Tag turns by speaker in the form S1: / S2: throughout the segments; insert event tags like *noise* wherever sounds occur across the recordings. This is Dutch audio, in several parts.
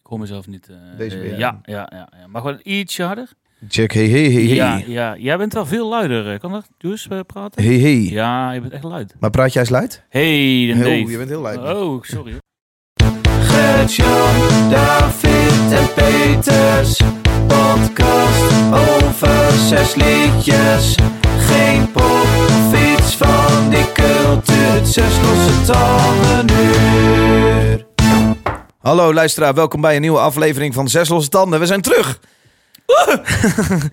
S1: Ik hoor mezelf niet. eh,
S2: Deze
S1: eh,
S2: weer,
S1: ja, ja, ja, ja. Maar gewoon ietsje harder.
S2: Check, hey, hey, hey, hey.
S1: Ja, ja. Jij bent wel veel luider. eh. Kan dat, Joes, eh, praten?
S2: Hey, hey.
S1: Ja, je bent echt luid.
S2: Maar praat jij eens luid?
S1: Hey, dan
S2: Heel,
S1: Dave.
S2: je bent heel luid.
S1: Oh, sorry.
S3: Gert-Jan, David en Peters. Podcast over zes liedjes. Geen pop of iets van die cultuur. Zes losse tanden uur.
S2: Hallo luisteraar, welkom bij een nieuwe aflevering van Zes Losse Tanden. We zijn
S1: *laughs*
S2: terug!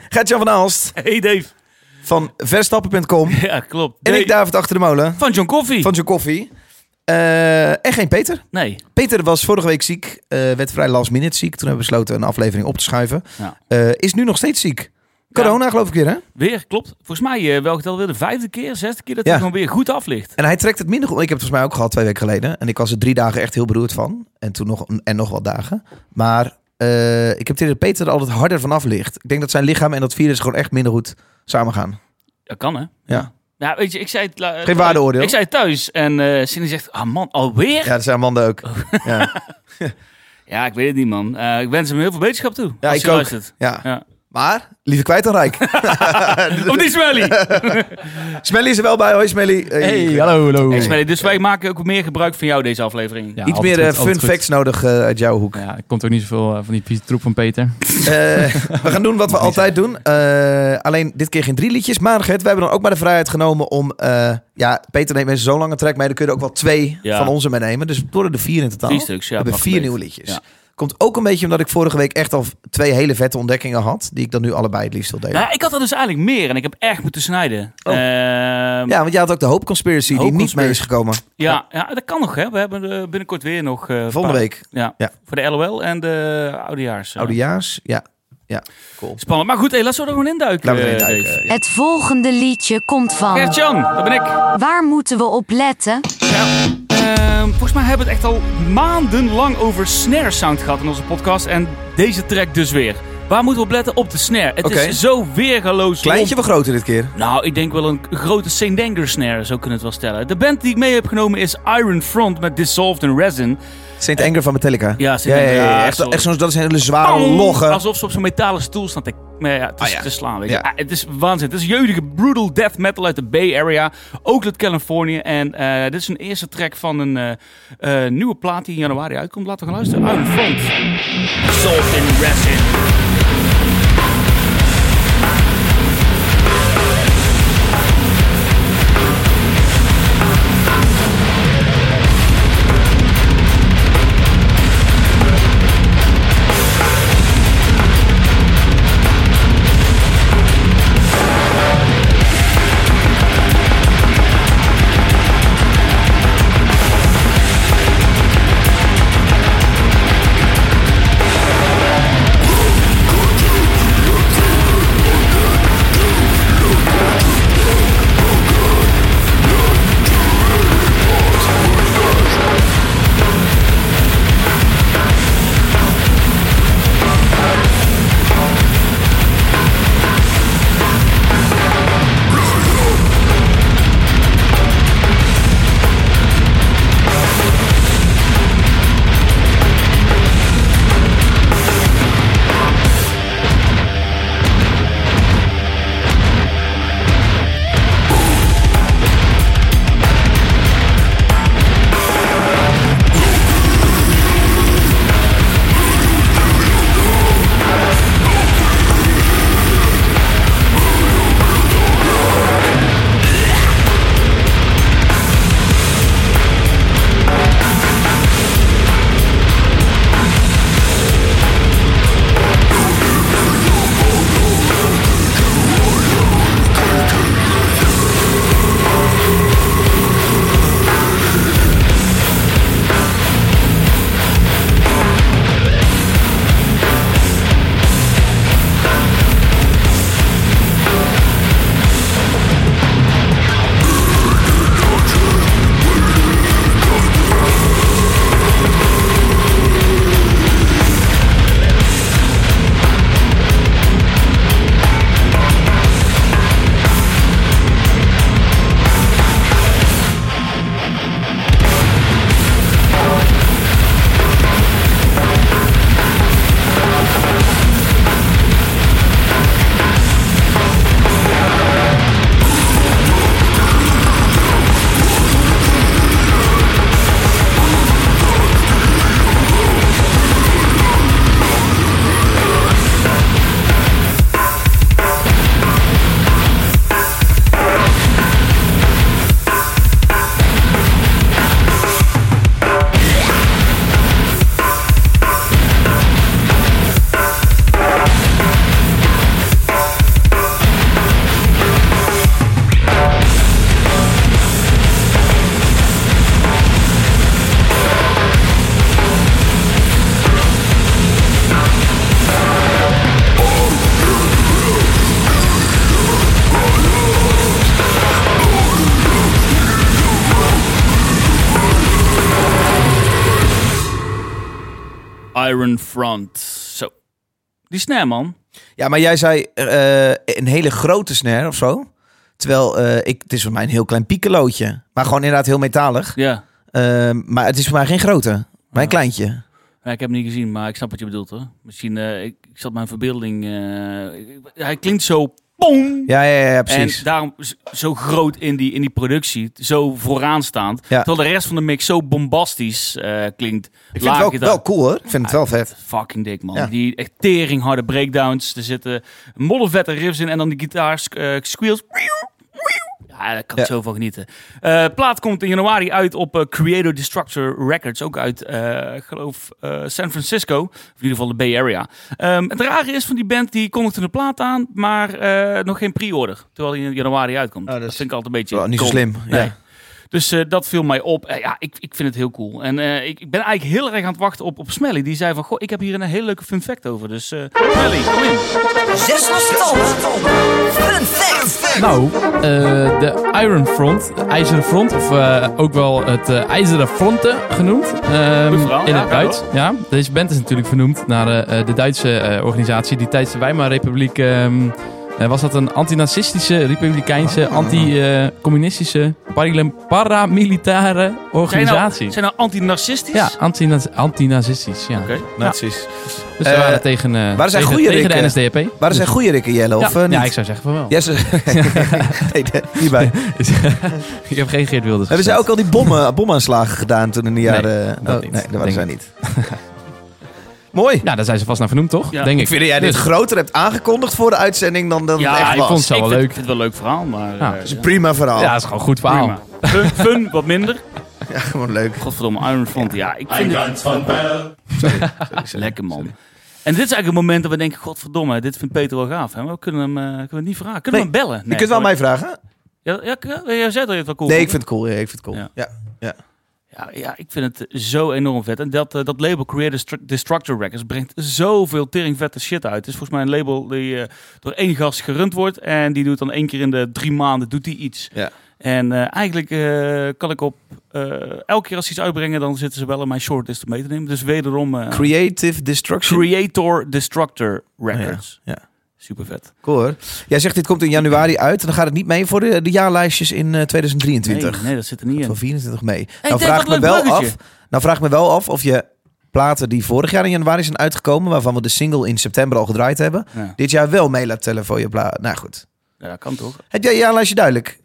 S2: Gert-Jan van Aalst
S1: Hey, Dave. *laughs*
S2: van verstappen.com
S1: Ja, klopt.
S2: en ik
S1: Dave.
S2: David Achter de Molen
S1: Van John Coffee.
S2: van Joe Koffie. Eh, en geen Peter.
S1: Nee.
S2: Peter was vorige week ziek, eh, werd vrij last minute ziek. Toen hebben we besloten een aflevering op te schuiven.
S1: Ja.
S2: Eh, is nu nog steeds ziek. Corona geloof ik weer hè?
S1: Weer, klopt. Volgens mij, eh, welke tel weer de vijfde keer, zesde keer dat
S2: Ja.
S1: hij gewoon weer goed aflicht.
S2: En hij trekt het minder goed. Ik heb het volgens mij ook gehad twee weken geleden. En ik was er drie dagen echt heel beroerd van. En toen nog, en nog wat dagen. Maar eh, ik heb tegen dat Peter er altijd harder van af ligt. Ik denk dat zijn lichaam en dat virus gewoon echt minder goed samengaan.
S1: Dat kan, hè?
S2: Ja.
S1: Nou, weet je, ik zei het... la-
S2: Geen waardeoordeel.
S1: Ik zei het thuis en eh Cindy zegt, ah man, alweer?
S2: Ja, dat zijn Amanda ook.
S4: Oh.
S2: *laughs* Ja.
S1: Ja, ik weet het niet, man. Eh, ik wens hem heel veel wetenschap toe.
S2: Ja,
S1: als
S2: ik
S1: hij
S2: ook.
S1: luistert.
S2: ja.
S1: Ja.
S2: Maar, liever kwijt dan
S4: *laughs*
S2: rijk.
S1: Of niet, Smelly?
S2: Smelly is er wel bij. Hoi Smelly. Hey,
S4: hallo, hallo.
S1: Hey, Smelly, dus wij maken ook meer gebruik van jou deze aflevering.
S4: Ja,
S2: Iets
S4: altijd
S2: meer eh,
S4: goed, altijd
S2: fun
S4: goed.
S2: facts nodig eh, uit jouw hoek.
S4: Ja, er komt ook niet zoveel eh, van die vieze troep van Peter.
S2: Eh, we gaan doen
S1: *laughs*
S2: wat we altijd doen. Eh, alleen dit keer geen drie liedjes. Maar Gert, we hebben dan ook maar de vrijheid genomen om... eh, ja, Peter neemt mensen zo'n lange track mee. Dan kun je er ook wel twee
S1: Ja.
S2: van onze mee nemen. Dus het worden er vier in totaal.
S1: Vier stuks, ja.
S2: we hebben
S1: mag
S2: vier
S1: best.
S2: nieuwe liedjes.
S1: Ja.
S2: Komt ook een beetje omdat ik vorige week echt al twee hele vette ontdekkingen had. Die ik dan nu allebei het liefst wil delen.
S1: Nou, ik had er dus eigenlijk meer en ik heb echt moeten snijden.
S2: Oh.
S1: Ehm,
S2: Ja, want jij had ook de Hoop Conspiracy
S1: Hope
S2: die niet mee is
S1: Conspiracy.
S2: gekomen.
S1: ja, ja, dat kan nog, hè. We hebben eh, binnenkort weer nog... eh, een
S2: Volgende
S1: paar-
S2: week.
S1: Ja,
S2: Ja.
S1: voor de LOL en de oudejaars. eh.
S2: Oudejaars. Ja. Ja. Cool.
S1: Spannend. Maar goed, hé, laten we er gewoon induiken.
S2: Laten we erin
S1: eh,
S2: duiken.
S1: Dave.
S2: Ja.
S5: Het volgende liedje komt van.
S1: Gert-Jan, dat ben ik.
S5: Waar moeten we op letten?
S1: Ja. Ehm, volgens mij hebben we het echt al maandenlang over snare sound gehad in onze podcast. En deze track dus weer. Waar moeten we op letten? Op de snare. Het
S2: Oké.
S1: is zo weergaloos.
S2: Kleintje of groter dit keer?
S1: lomp. Nou, ik denk wel een grote St. Anger snare, zo kunnen we het wel stellen. De band die ik mee heb genomen is Iron Front met Dissolved in Resin.
S2: Sint Anger van Metallica.
S1: Ja, Saint Anger, ja,
S2: echt,
S1: sorry.
S2: echt zo'n, dat is een hele zware
S1: Pam!
S2: logge.
S1: Alsof ze op zo'n metalen stoel staan te, nou ja, te,
S2: Ah, ja.
S1: te slaan. Weet je.
S2: Ja.
S1: Ah, het is waanzin. Het is jeudige brutal death metal uit de Bay Area. Oakland, Californië. En eh, dit is een eerste track van een eh, eh, nieuwe plaat die in januari uitkomt. Laten we gaan luisteren. Iron Front. Salt in resin.
S6: Groove
S1: Iron Front. Zo. Die snare, man.
S2: Ja, maar jij zei eh, eh, een hele grote snare of zo. Terwijl eh, ik, het is voor mij een heel klein piekelootje. Maar gewoon inderdaad heel metalig.
S1: Ja.
S2: Eh, maar het is voor mij geen grote. Maar een kleintje.
S1: Ja, ik heb hem niet gezien, maar ik snap wat je bedoelt hoor. Misschien, eh, ik, ik zat mijn verbeelding... eh, ik- hij klinkt zo... Pong!
S2: Ja, ja, ja, ja,
S1: En
S2: precies.
S1: daarom z- zo groot in die, in die productie, zo vooraanstaand.
S2: Ja.
S1: Terwijl de rest van de mix zo bombastisch eh, klinkt.
S2: ik vind het wel, wel cool hoor. Ik vind
S4: Ah,
S2: het wel vet.
S1: Fucking dik, man.
S2: Ja.
S1: Die echt tering harde breakdowns. Er zitten moddervette riffs in en dan die gitaars eh squeals. Ja, daar kan ik
S2: Ja.
S1: zo van genieten. Eh, plaat komt in januari uit op eh, Creator Destructor Records. Ook uit, eh, ik geloof, eh, San Francisco. Of in ieder geval de Bay Area. Ehm, het rare is van die band, die kondigde de plaat aan, maar eh, nog geen pre-order. Terwijl die in januari uitkomt.
S2: Oh,
S1: dat,
S2: dat is
S1: vind ik altijd een beetje...
S2: Wel, niet zo
S1: krom.
S2: slim.
S1: Nee.
S2: Ja.
S1: Dus eh, dat viel mij op. Eh, ja, ik, ik vind het heel cool. En eh, ik, ik ben eigenlijk heel erg aan het wachten op, op Smelly. Die zei van, goh, ik heb hier een hele leuke fun fact over. Dus eh, Smelly, kom in.
S6: Zes van stom. Fun fact.
S4: Nou, eh, de Iron Front, de IJzeren Front, of eh, ook wel het eh, IJzeren Fronten genoemd. ehm,
S1: Goed verhaal,
S4: in
S1: ja,
S4: het
S1: ga
S4: Duits. Ja, deze band is natuurlijk vernoemd naar eh, eh, de Duitse eh, organisatie, die tijdens de Weimarrepubliek. ehm, eh, was dat een antinazistische, republikeinse, anti-communistische, paramilitaire
S1: Zijn nou-
S4: organisatie?
S1: Zijn nou anti-narcistisch?
S4: Ja, antina- antinazis, ja.
S1: Oké. Nou,
S2: Nazis.
S4: Dus ze
S2: Eh,
S4: waren tegen, eh,
S2: waar zijn
S4: tegen,
S2: goeie
S4: tegen de
S2: rikken?
S4: NSDAP.
S2: Maar er zijn goede rikken, Jelle, of
S4: ja,
S2: eh, niet?
S4: ja, ik zou zeggen van wel.
S2: Yes, eh, nee, de- hierbij.
S4: *laughs* ik heb geen Geert Wilders
S2: Hebben zij
S4: gestemd.
S2: ook al die bommen, bomaanslagen gedaan toen in de jaren...
S4: Nee, dat
S2: oh,
S4: niet.
S2: nee, dat waren
S4: Denk
S2: zij niet. *laughs* Mooi.
S4: Ja, Nou, daar zijn ze vast naar vernoemd, toch?
S1: Ja.
S4: Denk ik. Dus,
S2: Ik vind dat jij dit groter hebt aangekondigd voor de uitzending dan dat
S1: Ja,
S2: het echt
S1: ik
S2: was.
S4: vond- Zo
S1: ik
S4: wel
S1: vind,
S4: leuk.
S1: vind het wel een leuk verhaal, maar...
S4: Ja,
S1: eh,
S2: Dat is een prima verhaal.
S4: Ja, dat is gewoon een goed verhaal.
S1: prima. Fun, fun, wat minder.
S2: Ja, gewoon leuk.
S1: Godverdomme, Iron Front. Ja, ik vind het
S3: van Pel.
S1: *laughs* lekker, man. En dit is eigenlijk een moment dat we denken, godverdomme, dit vindt Peter wel gaaf. Hè? Maar We kunnen hem, eh, kunnen we het niet vragen. Kunnen we hem bellen?
S2: je kunt wel
S1: maar-
S2: mij vragen.
S1: Ja, ja, ja, jij zei dat je het wel cool
S2: Nee,
S1: vond.
S2: ik vind het cool. Ja, ik vind het cool.
S1: Ja.
S2: Ja.
S1: Ja, ja, ik vind het zo enorm vet. En dat, eh, dat label Creator Destru- Destructor Records brengt zoveel teringvette shit uit. Het is volgens mij een label die eh, door één gast gerund wordt. En die doet dan één keer in de drie maanden doet die iets.
S2: Ja.
S1: En eh, eigenlijk eh, kan ik op... eh, elke keer als ze iets uitbrengen, dan zitten ze wel in mijn shortlist om mee te nemen. Dus wederom eh,
S2: Creative Destruction.
S1: Creator Destructor Records.
S2: Ja, Oh, ja.
S1: Super vet.
S2: cool hoor. Jij zegt dit komt in januari uit. En dan gaat het niet mee voor de, de jaarlijstjes in eh, 2023.
S1: Nee, nee, dat zit er niet in.
S2: Van 24 mee.
S1: ik
S2: Nou
S1: denk
S2: vraag ik
S1: wat
S2: me
S1: leuk
S2: wel af.
S1: bruggetje.
S2: Nou vraag ik me wel af of je platen die vorig jaar in januari zijn uitgekomen, waarvan we de single in september al gedraaid hebben,
S1: Ja.
S2: dit jaar wel mee laat tellen voor je plaat. Nou goed.
S1: Ja, dat kan toch?
S2: Heb jij je jaarlijstje duidelijk?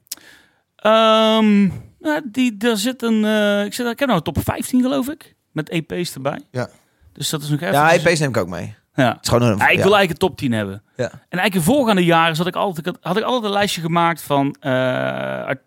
S1: Ehm, nou, die, daar zit een. eh, ik, zit, ik heb nou een top 15, geloof ik. Met EP's erbij.
S2: Ja.
S1: Dus dat is nog even.
S2: Ja, EP's neem ik ook mee. Het
S1: Ja.
S2: is gewoon een.
S1: Ja, ik
S2: ja.
S1: wil eigenlijk een top 10 hebben.
S2: Ja.
S1: En eigenlijk in voorgaande jaren zat ik altijd, had ik altijd een lijstje gemaakt van eh, art-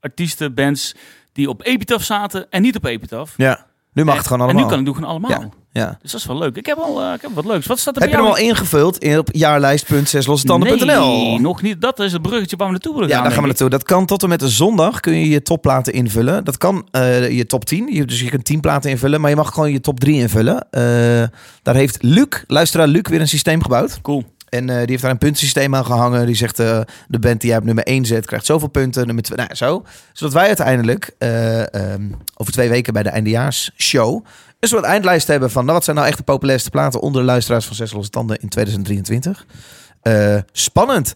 S1: artiesten, bands die op Epitaph zaten en niet op Epitaph.
S2: Ja. Nu mag
S1: En-
S2: het gewoon allemaal.
S1: En nu kan ik doen gewoon allemaal.
S2: Ja.
S1: Dus dat is wel leuk. Ik heb al eh, ik heb wat leuks. Wat staat er
S2: Heb je
S1: bij
S2: hem al
S1: jou?
S2: ingevuld in op jaarlijst.zeslossentanden.nl?
S1: Nee, nog niet. Dat is het bruggetje waar we naartoe willen
S2: Ja, daar gaan we
S1: denk
S2: naartoe. Dat kan tot en met de zondag kun je je topplaten invullen. Dat kan eh, je top 10. Je, dus je kunt 10 platen invullen, maar je mag gewoon je top 3 invullen. Eh, daar heeft Luc, luisteraar Luc, weer een systeem gebouwd.
S1: ik. Cool.
S2: En eh, die heeft daar een puntensysteem aan gehangen. Die zegt, eh, de band die jij op nummer 1 zet, krijgt zoveel punten. Nummer 2, nou zo. Zodat wij uiteindelijk eh, ehm, over twee weken bij de eindejaarsshow... een soort eindlijst hebben van... Nou, wat zijn nou echt de populairste platen onder de luisteraars van Zes Losse Tanden in 2023? Eh, spannend.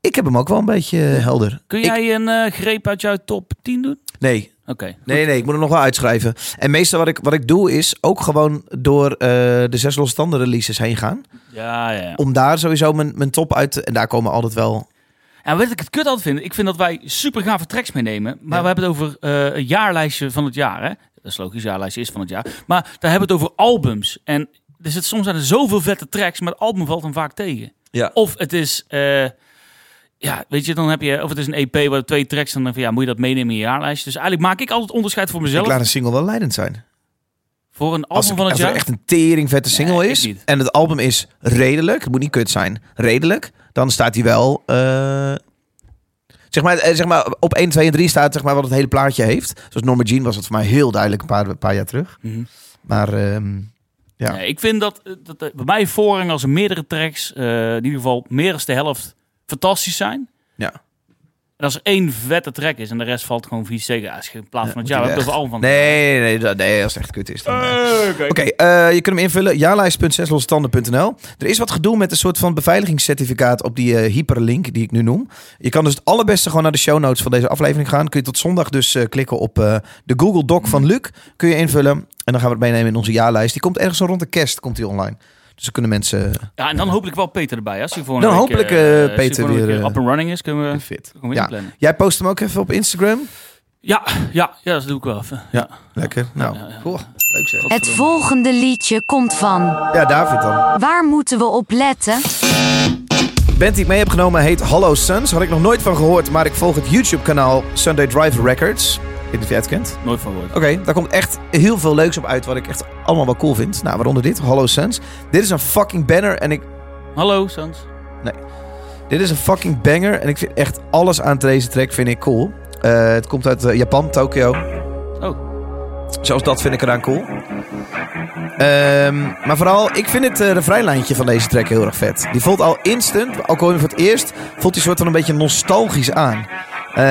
S2: Ik heb hem ook wel een beetje eh, helder.
S1: Kun
S2: Ik-
S1: jij een eh, greep uit jouw top 10 doen?
S2: nee,
S1: Oké.
S2: Nee, nee, ik moet hem nog wel uitschrijven. En meestal wat ik, wat ik doe is ook gewoon door eh, de zes losstanden releases heen gaan.
S1: Ja, ja, ja.
S2: Om daar sowieso mijn, mijn top uit te... En daar komen altijd wel...
S1: En weet ik het kut altijd vind? Ik vind dat wij super gave tracks meenemen. Maar
S2: Ja.
S1: we hebben het over eh, een jaarlijstje van het jaar. Hè? Dat is logisch, jaarlijstje is van het jaar. Maar daar hebben we het over albums. En er zit, soms zijn er zoveel vette tracks, maar het album valt dan vaak tegen.
S2: Ja.
S1: Of het is... eh, ja, weet je, dan heb je... Of het is een EP waar twee tracks dan van... Ja, moet je dat meenemen in je jaarlijstje? Dus eigenlijk maak ik altijd onderscheid voor
S2: Ik
S1: mezelf.
S2: laat een single wel leidend zijn.
S1: Voor een
S2: Als,
S1: album van
S2: ik-
S1: het
S2: als er
S1: jaar.
S2: echt een teringvette single
S1: Nee, ik
S2: is...
S1: niet.
S2: en het album is redelijk, het moet niet kut zijn, redelijk... dan staat hij wel... eh, zeg, maar, eh, zeg maar op 1, 2 en 3 staat zeg maar, wat het hele plaatje heeft. Zoals Norma Jean was dat voor mij heel duidelijk een paar, een paar jaar terug.
S1: Mhm.
S2: Maar... ehm, Ja.
S1: Nee, ik vind dat, dat eh, bij mij voorrang als er meerdere tracks, eh, in ieder geval meer dan de helft, fantastisch zijn.
S2: Ja.
S1: En En als er één vette track is en de rest valt gewoon vies tegen, ja, is geen plaats van het
S2: moet
S1: jaar. We
S2: hij
S1: hebben het
S2: weg.
S1: over album van het
S2: Nee, nee, nee, nee, als het echt kut is. Dan, eh.
S1: jaar. Oké.
S2: Oké, eh, je kunt hem invullen. Jaarlijst.zeslossestanden.nl. Er is wat gedoe met een soort van beveiligingscertificaat op die eh, hyperlink die ik nu noem. Je kan dus het allerbeste gewoon naar de show notes van deze aflevering gaan. Kun je tot zondag dus eh, klikken op eh, de Google Doc van Luc. Kun je invullen en dan gaan we het meenemen in onze jaarlijst. Die komt ergens zo rond de kerst komt die online. Dus dan kunnen mensen
S1: Ja, en dan hopelijk wel Peter erbij. Als hij voor een
S2: Dan
S1: week,
S2: hopelijk,
S1: eh,
S2: eh,
S1: als hij
S2: Peter
S1: voor een week,
S2: weer,
S1: eh,
S2: eh,
S1: up and running is, kunnen we
S2: fit.
S1: gewoon weer
S2: Ja.
S1: inplannen.
S2: Jij post hem ook even op Instagram.
S1: Ja, ja, ja, dat doe ik wel even. Ja.
S2: Lekker. Nou,
S1: Ja, ja.
S2: cool. leuk zeg.
S5: Het volgende liedje komt van.
S2: Ja, David dan.
S5: Waar moeten we op letten?
S2: band die ik mee heb genomen heet Hollow Suns. Had ik nog nooit van gehoord, maar ik volg het YouTube-kanaal Sunday Drive Records. Ik weet niet of jij het kent.
S1: Nooit van woord.
S2: Oké, daar komt echt heel veel leuks op uit wat ik echt allemaal wel cool vind. Nou, waaronder dit, Hollow Suns. Dit is een fucking banner en ik...
S1: Hallo, Sans.
S2: Dit is een fucking banger en ik vind echt alles aan deze track vind ik cool. Eh, het komt uit eh, Japan, Tokio.
S1: Oh,
S2: Zelfs dat vind ik eraan cool. Ehm, maar vooral, ik vind het eh refreinlijntje van deze track heel erg vet. Die voelt al instant, ook al hoor je hem voor het eerst, voelt die soort van een beetje nostalgisch aan. Eh,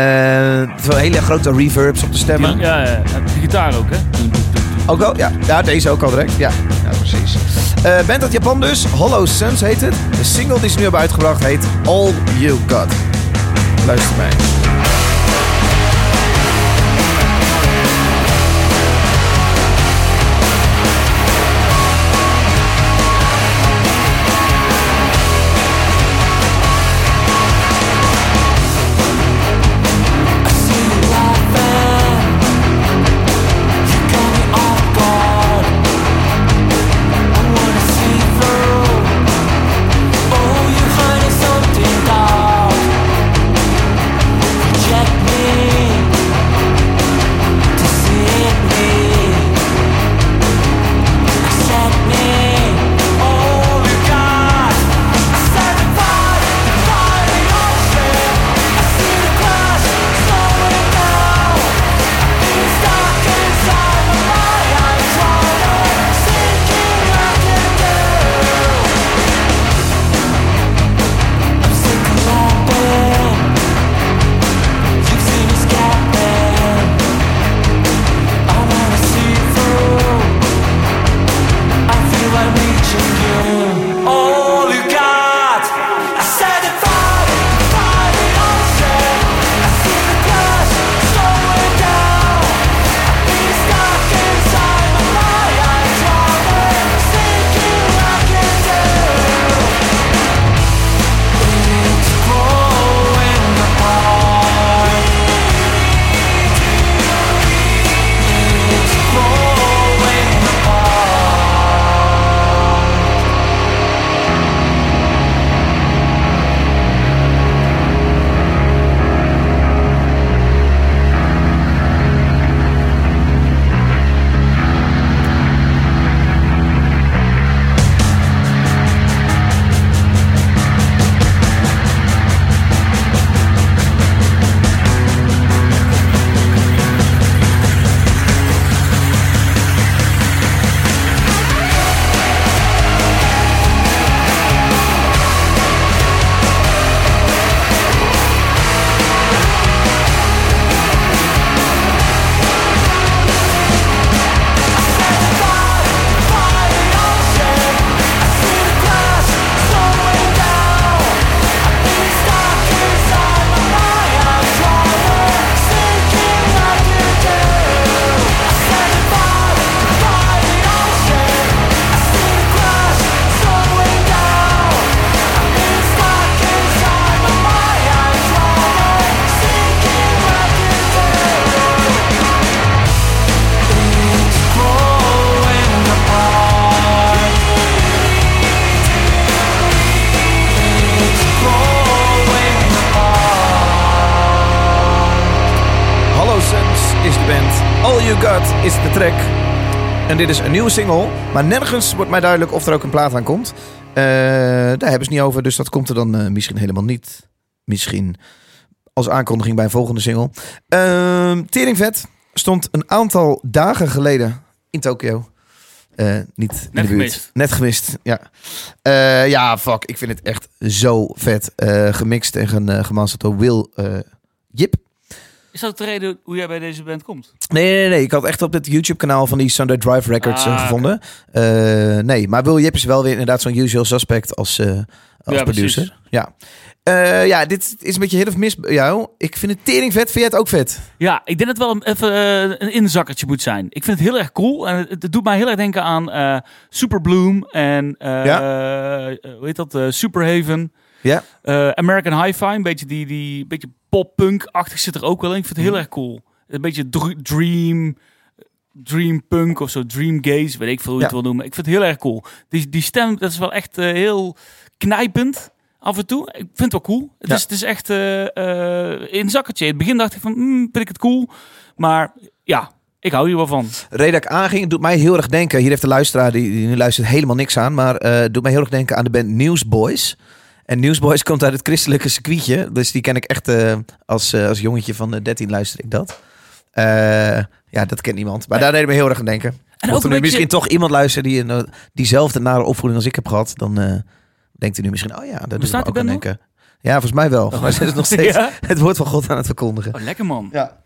S2: terwijl hele grote reverbs op de stemmen.
S1: ja, ja, ja. De gitaar ook, hè? Doe, doe, doe, doe.
S2: Ook al, ja, ja, deze ook al direct. Ja, ja precies. Eh band uit Japan dus, Hollow Suns heet het. De single die ze nu hebben uitgebracht heet All You Got. Luister mij.
S7: All you got, I said the fire, the fire, the ocean. I see the glass slowing down. It's stuck inside my mind. I'm drowning, thinking I can do. It's growing apart. It's growing apart.
S2: Hallo Suns is de band. All You Got is de track. En dit is een nieuwe single. Maar nergens wordt mij duidelijk of er ook een plaat aan komt. Eh, daar hebben ze het niet over. Dus dat komt er dan eh, misschien helemaal niet. Misschien als aankondiging bij een volgende single. Ehm Teringvet stond een aantal dagen geleden in Tokio. Eh, niet in
S1: Net
S2: de buurt.
S1: gemist.
S2: Net gemist, ja. Eh, ja, fuck. Ik vind het echt zo vet. Eh, gemixt en ge- eh, gemasterd door Will eh Jip.
S1: Is dat de reden hoe jij bij deze band komt?
S2: Nee, nee, nee. Ik had echt op het YouTube-kanaal van die Sunday Drive Records
S1: Ah,
S2: eh, gevonden. Eh, nee, maar Will Jip is wel weer inderdaad zo'n usual suspect als, eh, als
S1: Ja,
S2: producer.
S1: precies.
S2: Ja. Eh, ja, dit is een beetje heel of mis bij jou. Ik vind het tering vet. Vind jij het ook vet?
S1: Ja, ik denk dat het wel een- even eh, een inzakkertje moet zijn. Ik vind het heel erg cool. En het, het doet mij heel erg denken aan eh, Super Bloom en eh, eh, hoe heet dat? eh, Superhaven.
S2: Ja.
S1: Eh, American Hi-Fi. Een beetje, die, die, beetje pop-punk-achtig zit er ook wel in. Ik vind
S2: Mhm.
S1: het heel erg cool. Een beetje dr- dream... Dream punk of zo, dream gaze, weet ik veel hoe je het wil
S2: Ja.
S1: noemen. Ik vind het heel erg cool. Die, die stem, dat is wel echt eh, heel knijpend af en toe. Ik vind het wel cool. Het,
S2: Ja.
S1: is, het is echt eh, eh, in zakkertje. In het begin dacht ik van, hmm, vind ik het cool. Maar ja, ik hou hier wel van.
S2: Reden dat ik aanging, het doet mij heel erg denken. Hier heeft de luisteraar, die, die nu luistert, helemaal niks aan. Maar eh, het doet mij heel erg denken aan de band Newsboys. En Newsboys komt uit het christelijke circuitje. Dus die ken ik echt eh, als, eh, als jongetje van eh, 13 luister ik dat. Eh, ja, dat kent niemand. Maar daar deed ik me heel erg aan denken.
S1: En
S2: Mocht er nu
S1: een beetje-
S2: misschien toch iemand luisteren die een, eh, diezelfde nare opvoeding als ik heb gehad, dan eh, denkt u nu misschien, oh ja, daar doet ik
S1: Bestaat
S2: me
S1: die
S2: ook aan
S1: band nog?
S2: denken. Ja, volgens mij wel. Maar
S1: *laughs*
S2: ze is nog steeds
S1: Ja?
S2: het woord van God aan het verkondigen.
S1: Oh, lekker man.
S2: Ja.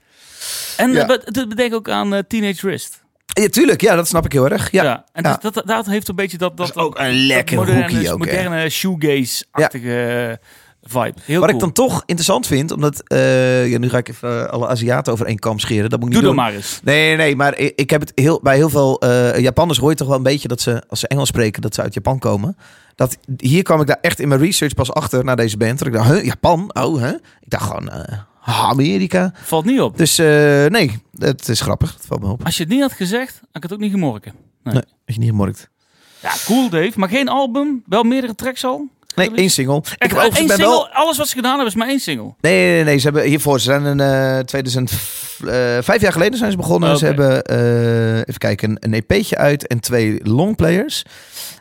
S1: En
S2: Ja.
S1: eh, dat dat bedenk ook aan eh, Teenage Wrist.
S2: ja, tuurlijk. Ja, dat snap ik heel erg. Ja.
S1: En
S2: Ja.
S1: Dat, dat, dat heeft een beetje dat... Dat,
S2: Dat is ook een lekker
S1: moderne,
S2: hoekie ook, hè.
S1: moderne shoegaze-achtige eh, vibe. Heel cool.
S2: Wat ik dan toch interessant vind, omdat... eh, ja, nu ga ik even eh, alle Aziaten over één kam scheren. Dat moet ik
S1: Doe
S2: niet
S1: dat
S2: doen.
S1: maar eens.
S2: Nee, nee, nee, maar i- ik heb het heel, bij heel veel eh Japanners hoor je toch wel een beetje dat ze, als ze Engels spreken, dat ze uit Japan komen. Dat, hier kwam ik daar echt in mijn research pas achter naar deze band. Dat ik dacht, huh, Japan? Oh, hè? Ik dacht gewoon, eh, Amerika.
S1: Valt niet op.
S2: Dus eh, nee, het is grappig. Het valt me op.
S1: Als je het niet had gezegd, had ik het ook niet gemorken.
S2: Nee, als je niet gemorkt.
S1: Ja, cool Dave. Maar geen album, wel meerdere tracks al.
S2: Nee, één single.
S1: Ik
S2: heb overigens-
S1: eh, één
S2: ben
S1: single,
S2: wel-
S1: alles wat ze gedaan hebben is maar één single.
S2: Nee, nee, nee, nee, Ze hebben hiervoor, ze zijn in eh 2000, eh, vijf jaar geleden zijn ze begonnen.
S1: Oké.
S2: Ze hebben, eh, even kijken, een, een EP'tje uit en twee longplayers.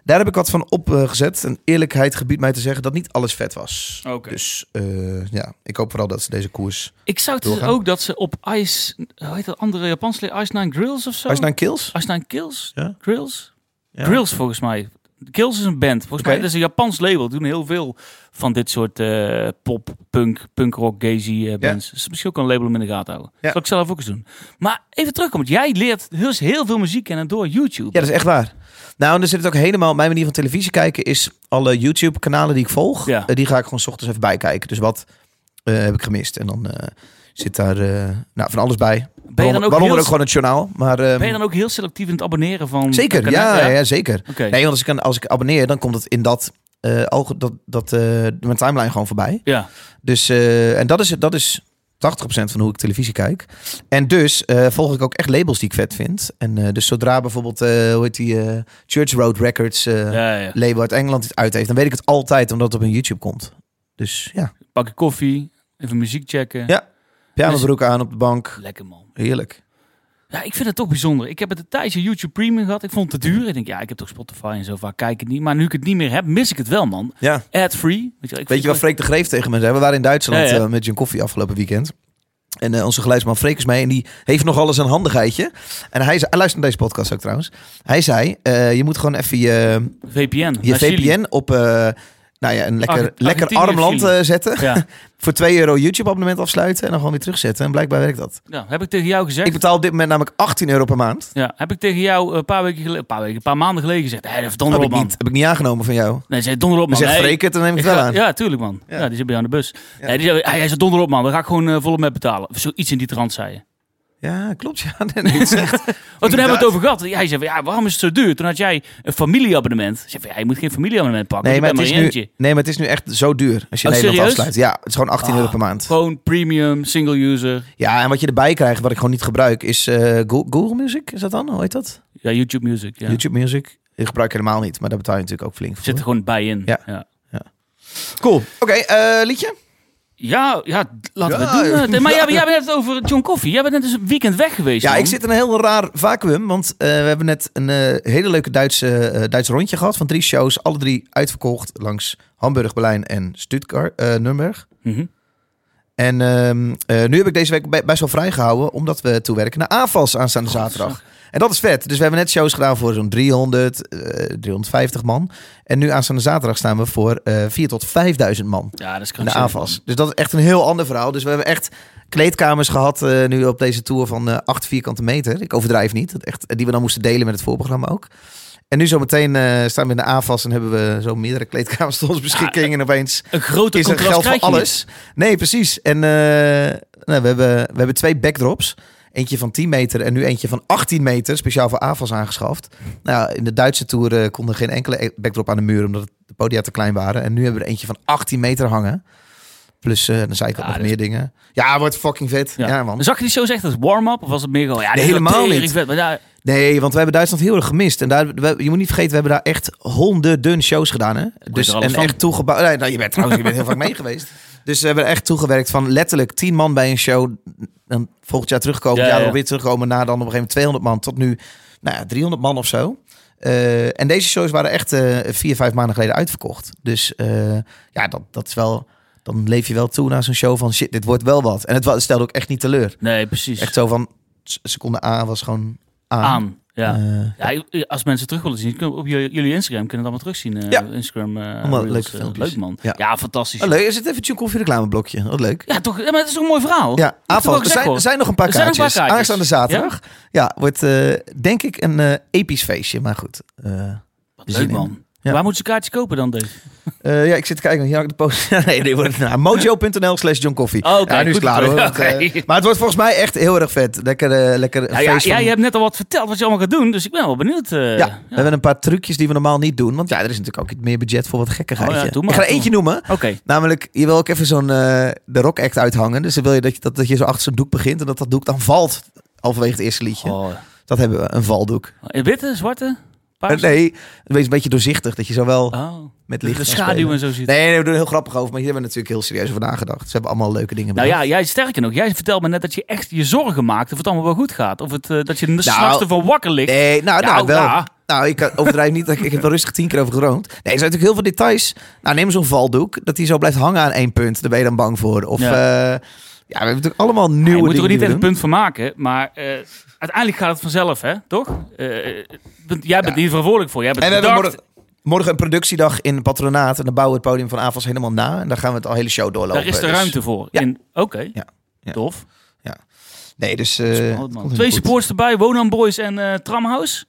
S2: Daar heb ik wat van opgezet. en eerlijkheid gebiedt mij te zeggen dat niet alles vet was.
S1: Oké.
S2: Dus eh, ja, ik hoop vooral dat ze deze koers...
S1: Ik zou dus
S2: Doorgaan.
S1: ook dat ze op Ice, hoe heet dat andere Japanse lied? Ice Nine Grills of zo?
S2: Als je naar Kills?
S1: Ice Nine Kills?
S2: Ja.
S1: Grills?
S2: Ja.
S1: Grills volgens mij. Kills is een band. Volgens
S2: Oké.
S1: mij dat is een Japans label. Die doen heel veel van dit soort eh, pop, punk, punk rock, gazy eh, bands. Dus misschien ook een label om in de gaten houden.
S2: Ja.
S1: Zal ik zelf ook eens doen. Maar even terugkomen. Jij leert heel, heel veel muziek kennen door YouTube.
S2: Ja, dat is echt waar. Nou, en dan zit het ook helemaal... Mijn manier van televisie kijken is alle YouTube-kanalen die ik volg...
S1: Ja.
S2: eh, die ga ik gewoon 's ochtends even bijkijken. Dus wat eh, heb ik gemist? En dan eh, zit daar eh, nou, van alles bij.
S1: ben, je dan ook
S2: Waaronder
S1: heel,
S2: ook gewoon het journaal. Maar, ehm,
S1: ben je dan ook heel selectief in het abonneren van...
S2: Zeker,
S1: van
S2: ja,
S1: kanalen?
S2: ja. zeker.
S1: Oké.
S2: Nee, want als ik, als ik abonneer, dan komt het in dat, eh, alge- dat, dat eh, mijn timeline gewoon voorbij.
S1: Ja.
S2: Dus, eh, en dat is, dat is 80% van hoe ik televisie kijk. En dus eh, volg ik ook echt labels die ik vet vind. En eh, dus zodra bijvoorbeeld, eh, hoe heet die, eh, Church Road Records eh,
S1: Ja, ja.
S2: label uit Engeland het uit heeft, dan weet ik het altijd omdat het op een YouTube komt. Dus ja,
S1: Pak een koffie, even muziek checken.
S2: Ja.
S1: Dus-
S2: broek aan op de bank.
S1: Lekker man.
S2: Heerlijk.
S1: Ja, ik vind het toch bijzonder. Ik heb het een tijdje YouTube Premium gehad. Ik vond het te duur. Ik denk, ja, ik heb toch Spotify en zo vaak kijk ik het niet. Maar nu ik het niet meer heb, mis ik het wel, man.
S2: Ja.
S1: Ad-free. Weet je, wel, ik
S2: Weet je wat
S1: vind-
S2: Freek de Greef tegen me zei? We waren in Duitsland
S1: Ja, ja.
S2: eh, met Jim Koffie afgelopen weekend. En eh, onze geluidsman Freek is mee en die heeft nog alles een handigheidje. En hij, zei, hij luistert naar deze podcast ook trouwens. Hij zei, eh, je moet gewoon even je,
S1: VPN.
S2: je
S1: naar Chili.
S2: VPN op eh, nou ja, een lekker,
S1: Arge-
S2: lekker
S1: Argentinië,
S2: arm land
S1: Chili.
S2: eh, zetten.
S1: Ja.
S2: Voor 2 euro YouTube abonnement afsluiten en dan gewoon weer terugzetten. En blijkbaar werkt dat.
S1: ja, heb ik tegen jou gezegd.
S2: Ik betaal op dit moment namelijk 18 euro per maand.
S1: Ja, heb ik tegen jou eh, een paar weken geleden, een paar, weken, een paar maanden geleden gezegd. Hé, even donder
S2: heb
S1: op,
S2: ik
S1: man.
S2: niet, heb ik niet aangenomen van jou.
S1: Nee, zei donder op,
S2: Dan
S1: man.
S2: zegt
S1: Nee,
S2: Freek het, dan neem ik
S1: ik
S2: het wel
S1: ga-
S2: aan.
S1: Ja, tuurlijk, man. Ja.
S2: Ja.
S1: die zit bij jou aan de bus. Nee, die zei, hij hij zei donder op, man. Dan ga ik gewoon eh, volop met betalen. Of zoiets in die trant, zei je.
S2: Ja, klopt. Ja, *laughs* nee, nee, het is echt-
S1: *laughs* Want Oh, toen hebben we
S2: Inderdaad.
S1: het over gehad. Hij zei van, ja, waarom is het zo duur? Toen had jij een familieabonnement. Ik zei van, ja, je moet geen familieabonnement pakken.
S2: Nee, maar het
S1: je
S2: is
S1: bent maar
S2: nu,
S1: in eentje.
S2: nee, maar het is nu echt zo duur als je
S1: Oh,
S2: Nederland
S1: serieus? Ah.
S2: afsluit. Ja, het is gewoon 18 euro per maand.
S1: Gewoon premium, single user.
S2: Ja, en wat je erbij krijgt, wat ik gewoon niet gebruik, is eh, Go- Google Music. Is dat dan? Hoe heet dat?
S1: Ja, YouTube Music. Ja.
S2: YouTube Music. Ik gebruik ik helemaal niet, maar daar betaal je natuurlijk ook flink voor.
S1: Zit er gewoon bij in.
S2: Ja.
S1: ja.
S2: Cool. Oké, eh, liedje?
S1: Ja, ja, d- laten
S2: Ja,
S1: we het doen.
S2: ja.
S1: Maar jij, jij bent net over John Coffee. Jij bent net dus een weekend weg geweest.
S2: Ja,
S1: man.
S2: ik zit in een heel raar vacuüm, want eh, we hebben net een eh, hele leuke Duitse, eh, Duits rondje gehad van drie shows. Alle drie uitverkocht langs Hamburg, Berlijn en Stuttgart, eh Nürnberg.
S1: Mhm.
S2: En ehm, eh, nu heb ik deze week be- best wel vrijgehouden, omdat we toewerken naar aanvals aanstaande zaterdag. En dat is vet. Dus we hebben net shows gedaan voor zo'n 300, eh, 350 man. En nu aanstaande zaterdag staan we voor eh 4 tot 5000 man
S1: Ja, dat is
S2: in de
S1: krankzinnig.
S2: aanvals. Dus dat is echt een heel ander verhaal. Dus we hebben echt kleedkamers gehad eh, nu op deze tour van eh 8 vierkante meter. Ik overdrijf niet. Dat echt, eh, die we dan moesten delen met het voorprogramma ook. En nu zometeen eh, staan we in de aanvals en hebben we zo meerdere kleedkamers tot onze beschikking. en opeens
S1: Een grote
S2: is er
S1: contrast
S2: geld voor
S1: krijg je
S2: alles. Nee, precies. En eh, nou, we, hebben, we hebben twee backdrops. Eentje van 10 meter en nu eentje van 18 meter, speciaal voor AFAS aangeschaft. Nou, in de Duitse tour eh, kon er geen enkele e- backdrop aan de muur, omdat de podia te klein waren. En nu hebben we er eentje van 18 meter hangen. Plus, eh dan zei ik ook
S1: Ja,
S2: nog
S1: dat is-
S2: meer dingen. Ja, wordt fucking vet. Ja,
S1: niet.
S2: man.
S1: Zag je die shows echt als warm-up? Of was het meer gewoon... Ja,
S2: Nee,
S1: dit is wel
S2: helemaal
S1: tering
S2: niet.
S1: vet, maar ja,
S2: Nee, want we hebben Duitsland heel erg gemist. En daar, we- je moet niet vergeten, we hebben daar echt honderden shows gedaan. Hè? Dus,
S1: er alles
S2: en
S1: van.
S2: echt toegebouwd. Nee, nou, je bent trouwens je bent heel vaak mee geweest. Dus we hebben er echt toegewerkt van letterlijk 10 man bij een show. Dan volgend jaar terugkomen,
S1: Ja,
S2: ja,
S1: ja.
S2: weer terugkomen. Na dan op een gegeven moment 200 man tot nu nou ja, 300 man of zo. Eh, en deze shows waren echt eh, vier, vijf maanden geleden uitverkocht. Dus eh, ja, dat, dat is wel... Dan leef je wel toe naar zo'n show van shit, dit wordt wel wat. En het wa- stelde ook echt niet teleur.
S1: Nee, precies.
S2: Echt zo van, s- seconde A was gewoon aan.
S1: aan. Ja.
S2: Eh,
S1: Ja, als mensen terug willen zien, kunnen we op jullie, jullie Instagram kunnen het allemaal terugzien. eh,
S2: Ja.
S1: Instagram. eh,
S2: Allemaal
S1: reels,
S2: leuke
S1: eh,
S2: filmpjes.
S1: leuk man. Ja,
S2: Ja.
S1: fantastisch.
S2: Oh, leuk. Er zit eventjes een koffiereclameblokje. Wat leuk.
S1: Ja, toch? Ja, maar het is toch een mooi verhaal.
S2: Ja,
S1: Dat wil
S2: aanval.
S1: ik
S2: Er
S1: zeggen,
S2: zijn,
S1: hoor.
S2: er zijn nog een paar
S1: Er zijn nog
S2: kaartjes.
S1: een paar kaartjes.
S2: Aanstaande zaterdag. Ja, wordt eh, denk ik een eh, episch feestje. Maar goed. eh,
S1: Leuk
S2: zin in.
S1: man.
S2: Ja.
S1: Waar moeten ze kaartjes kopen dan, Dave?
S2: eh, ja, ik zit te kijken. want Hier had ik de post. *laughs* nee, dit wordt nou, mojo.nl slash John Coffee.
S1: Oh, oké,
S2: ja, nu is het
S1: goed.
S2: klaar hoor. want, eh,
S1: Oké.
S2: maar het wordt volgens mij echt heel erg vet. Lekker, eh, lekker een
S1: Ja, ja,
S2: feest van-
S1: ja, je hebt net al wat verteld wat je allemaal gaat doen, dus ik ben wel benieuwd. eh.
S2: Ja, we hebben een paar trucjes die we normaal niet doen. Want ja, er is natuurlijk ook iets meer budget voor wat gekkigheidje.
S1: Oh ja, doe maar,
S2: ik ga er
S1: doe
S2: eentje noemen.
S1: Oké.
S2: Namelijk, je wil ook even zo'n eh, de rock act uithangen. Dus dan wil je dat je, dat, dat je zo achter zo'n doek begint en dat dat doek dan valt. Halverwege het eerste liedje.
S1: Oh.
S2: Dat hebben we, een valdoek.
S1: Eh, Witte, zwarte,
S2: Eh,
S1: paars?
S2: nee, wees een beetje doorzichtig. Dat je zo wel
S1: Oh.
S2: met
S1: De,
S2: licht
S1: de
S2: kan
S1: schaduw
S2: spelen.
S1: en zo ziet.
S2: Nee, nee, we doen er heel grappig over. Maar hier hebben we natuurlijk heel serieus over nagedacht. Ze hebben allemaal leuke dingen
S1: Nou
S2: bedacht.
S1: ja, jij sterker nog. Jij vertelde me net dat je echt je zorgen maakt of het allemaal wel goed gaat. Of het, eh, dat je er s'nachts
S2: Nou,
S1: ervan wakker ligt.
S2: Nee, nou, nou,
S1: Nou,
S2: wel.
S1: ja.
S2: Nou, ik overdrijf niet. Ik ik heb er rustig tien keer over gedroomd. Nee, er zijn natuurlijk heel veel details. Nou, neem zo'n valdoek. Dat die zo blijft hangen aan één punt. Daar ben je dan bang voor. Of,
S1: Ja. Ah,
S2: ja, ja we hebben natuurlijk allemaal nieuwe
S1: Je
S2: dingen.
S1: moet er ook niet echt
S2: die we
S1: een
S2: doen.
S1: punt van maken, maar eh, uiteindelijk gaat het vanzelf, hè? Toch? Eh, eh, want jij bent
S2: Ja.
S1: hier verantwoordelijk voor. Jij bent
S2: En eh, we hebben
S1: bedacht.
S2: morgen, morgen een productiedag in patronaat. En dan bouwen we het podium van Avals helemaal na. En dan gaan we het al hele show doorlopen.
S1: Daar is de
S2: Dus-
S1: ruimte voor.
S2: Ja.
S1: In- Oké,
S2: Ja. Ja.
S1: tof.
S2: Nee, dus... eh,
S1: Spannend,
S2: het
S1: man.
S2: komt helemaal
S1: Twee
S2: goed.
S1: supporters erbij, Wonan Boys en eh, Tramhouse.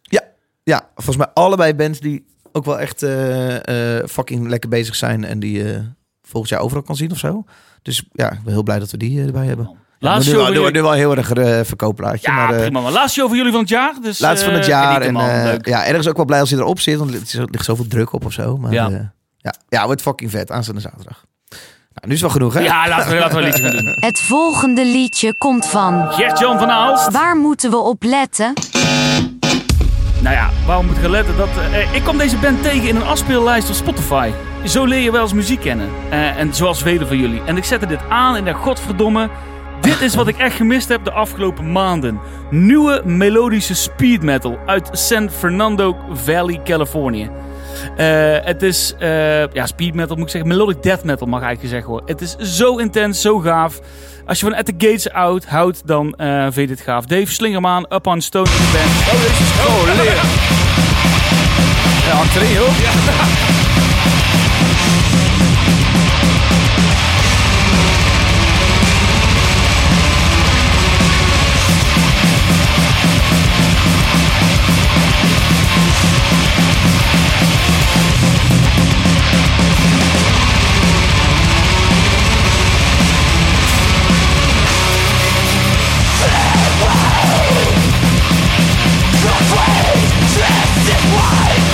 S2: Ja, volgens mij allebei bands die ook wel echt eh, eh, fucking lekker bezig zijn. En die je volgend jaar overal kan zien of zo. Dus ja, ik ben heel blij dat we die eh, erbij hebben.
S1: Laatste
S2: nu,
S1: show
S2: wel,
S1: van
S2: nu,
S1: jullie...
S2: nu wel heel erg eh verkoopplaatje.
S1: Ja,
S2: maar, eh,
S1: prima. Maar laatste show van jullie van het jaar. Dus,
S2: laatste van het
S1: eh,
S2: jaar.
S1: genieten,
S2: En
S1: man.
S2: eh,
S1: Leuk.
S2: ja, ergens ook wel blij als hij erop zit. Want er is- er ligt zoveel druk op of zo. Maar,
S1: Ja.
S2: ja. ja, ja, wordt fucking vet. Aanstaande zaterdag. Nou, nu is wel genoeg, hè?
S1: ja, laten we, laten we een liedje gaan
S2: *laughs*
S1: doen.
S5: Het volgende liedje komt van.
S1: Gert-Jan van Aalst.
S5: Waar moeten we op letten?
S1: Nou ja, waarom moet ik gaan letten? Dat, eh, ik kwam deze band tegen in een afspeellijst op Spotify. Zo leer je wel eens muziek kennen. Eh, en zoals velen van jullie. En ik zette dit aan en dacht, godverdomme... Dit is wat ik echt gemist heb de afgelopen maanden. Nieuwe melodische speed metal uit San Fernando Valley, Californië. Eh, het is, eh, ja, speed metal moet ik zeggen. Melodic death metal mag eigenlijk gezegd worden. Het is zo intens, zo gaaf. Als je van At the Gates out houdt, dan eh, vind je dit gaaf. Dave, slinger hem aan. Up on Stone is de band. Oh, dit is oh, Ja, achterin, hoor.
S7: Dressed in white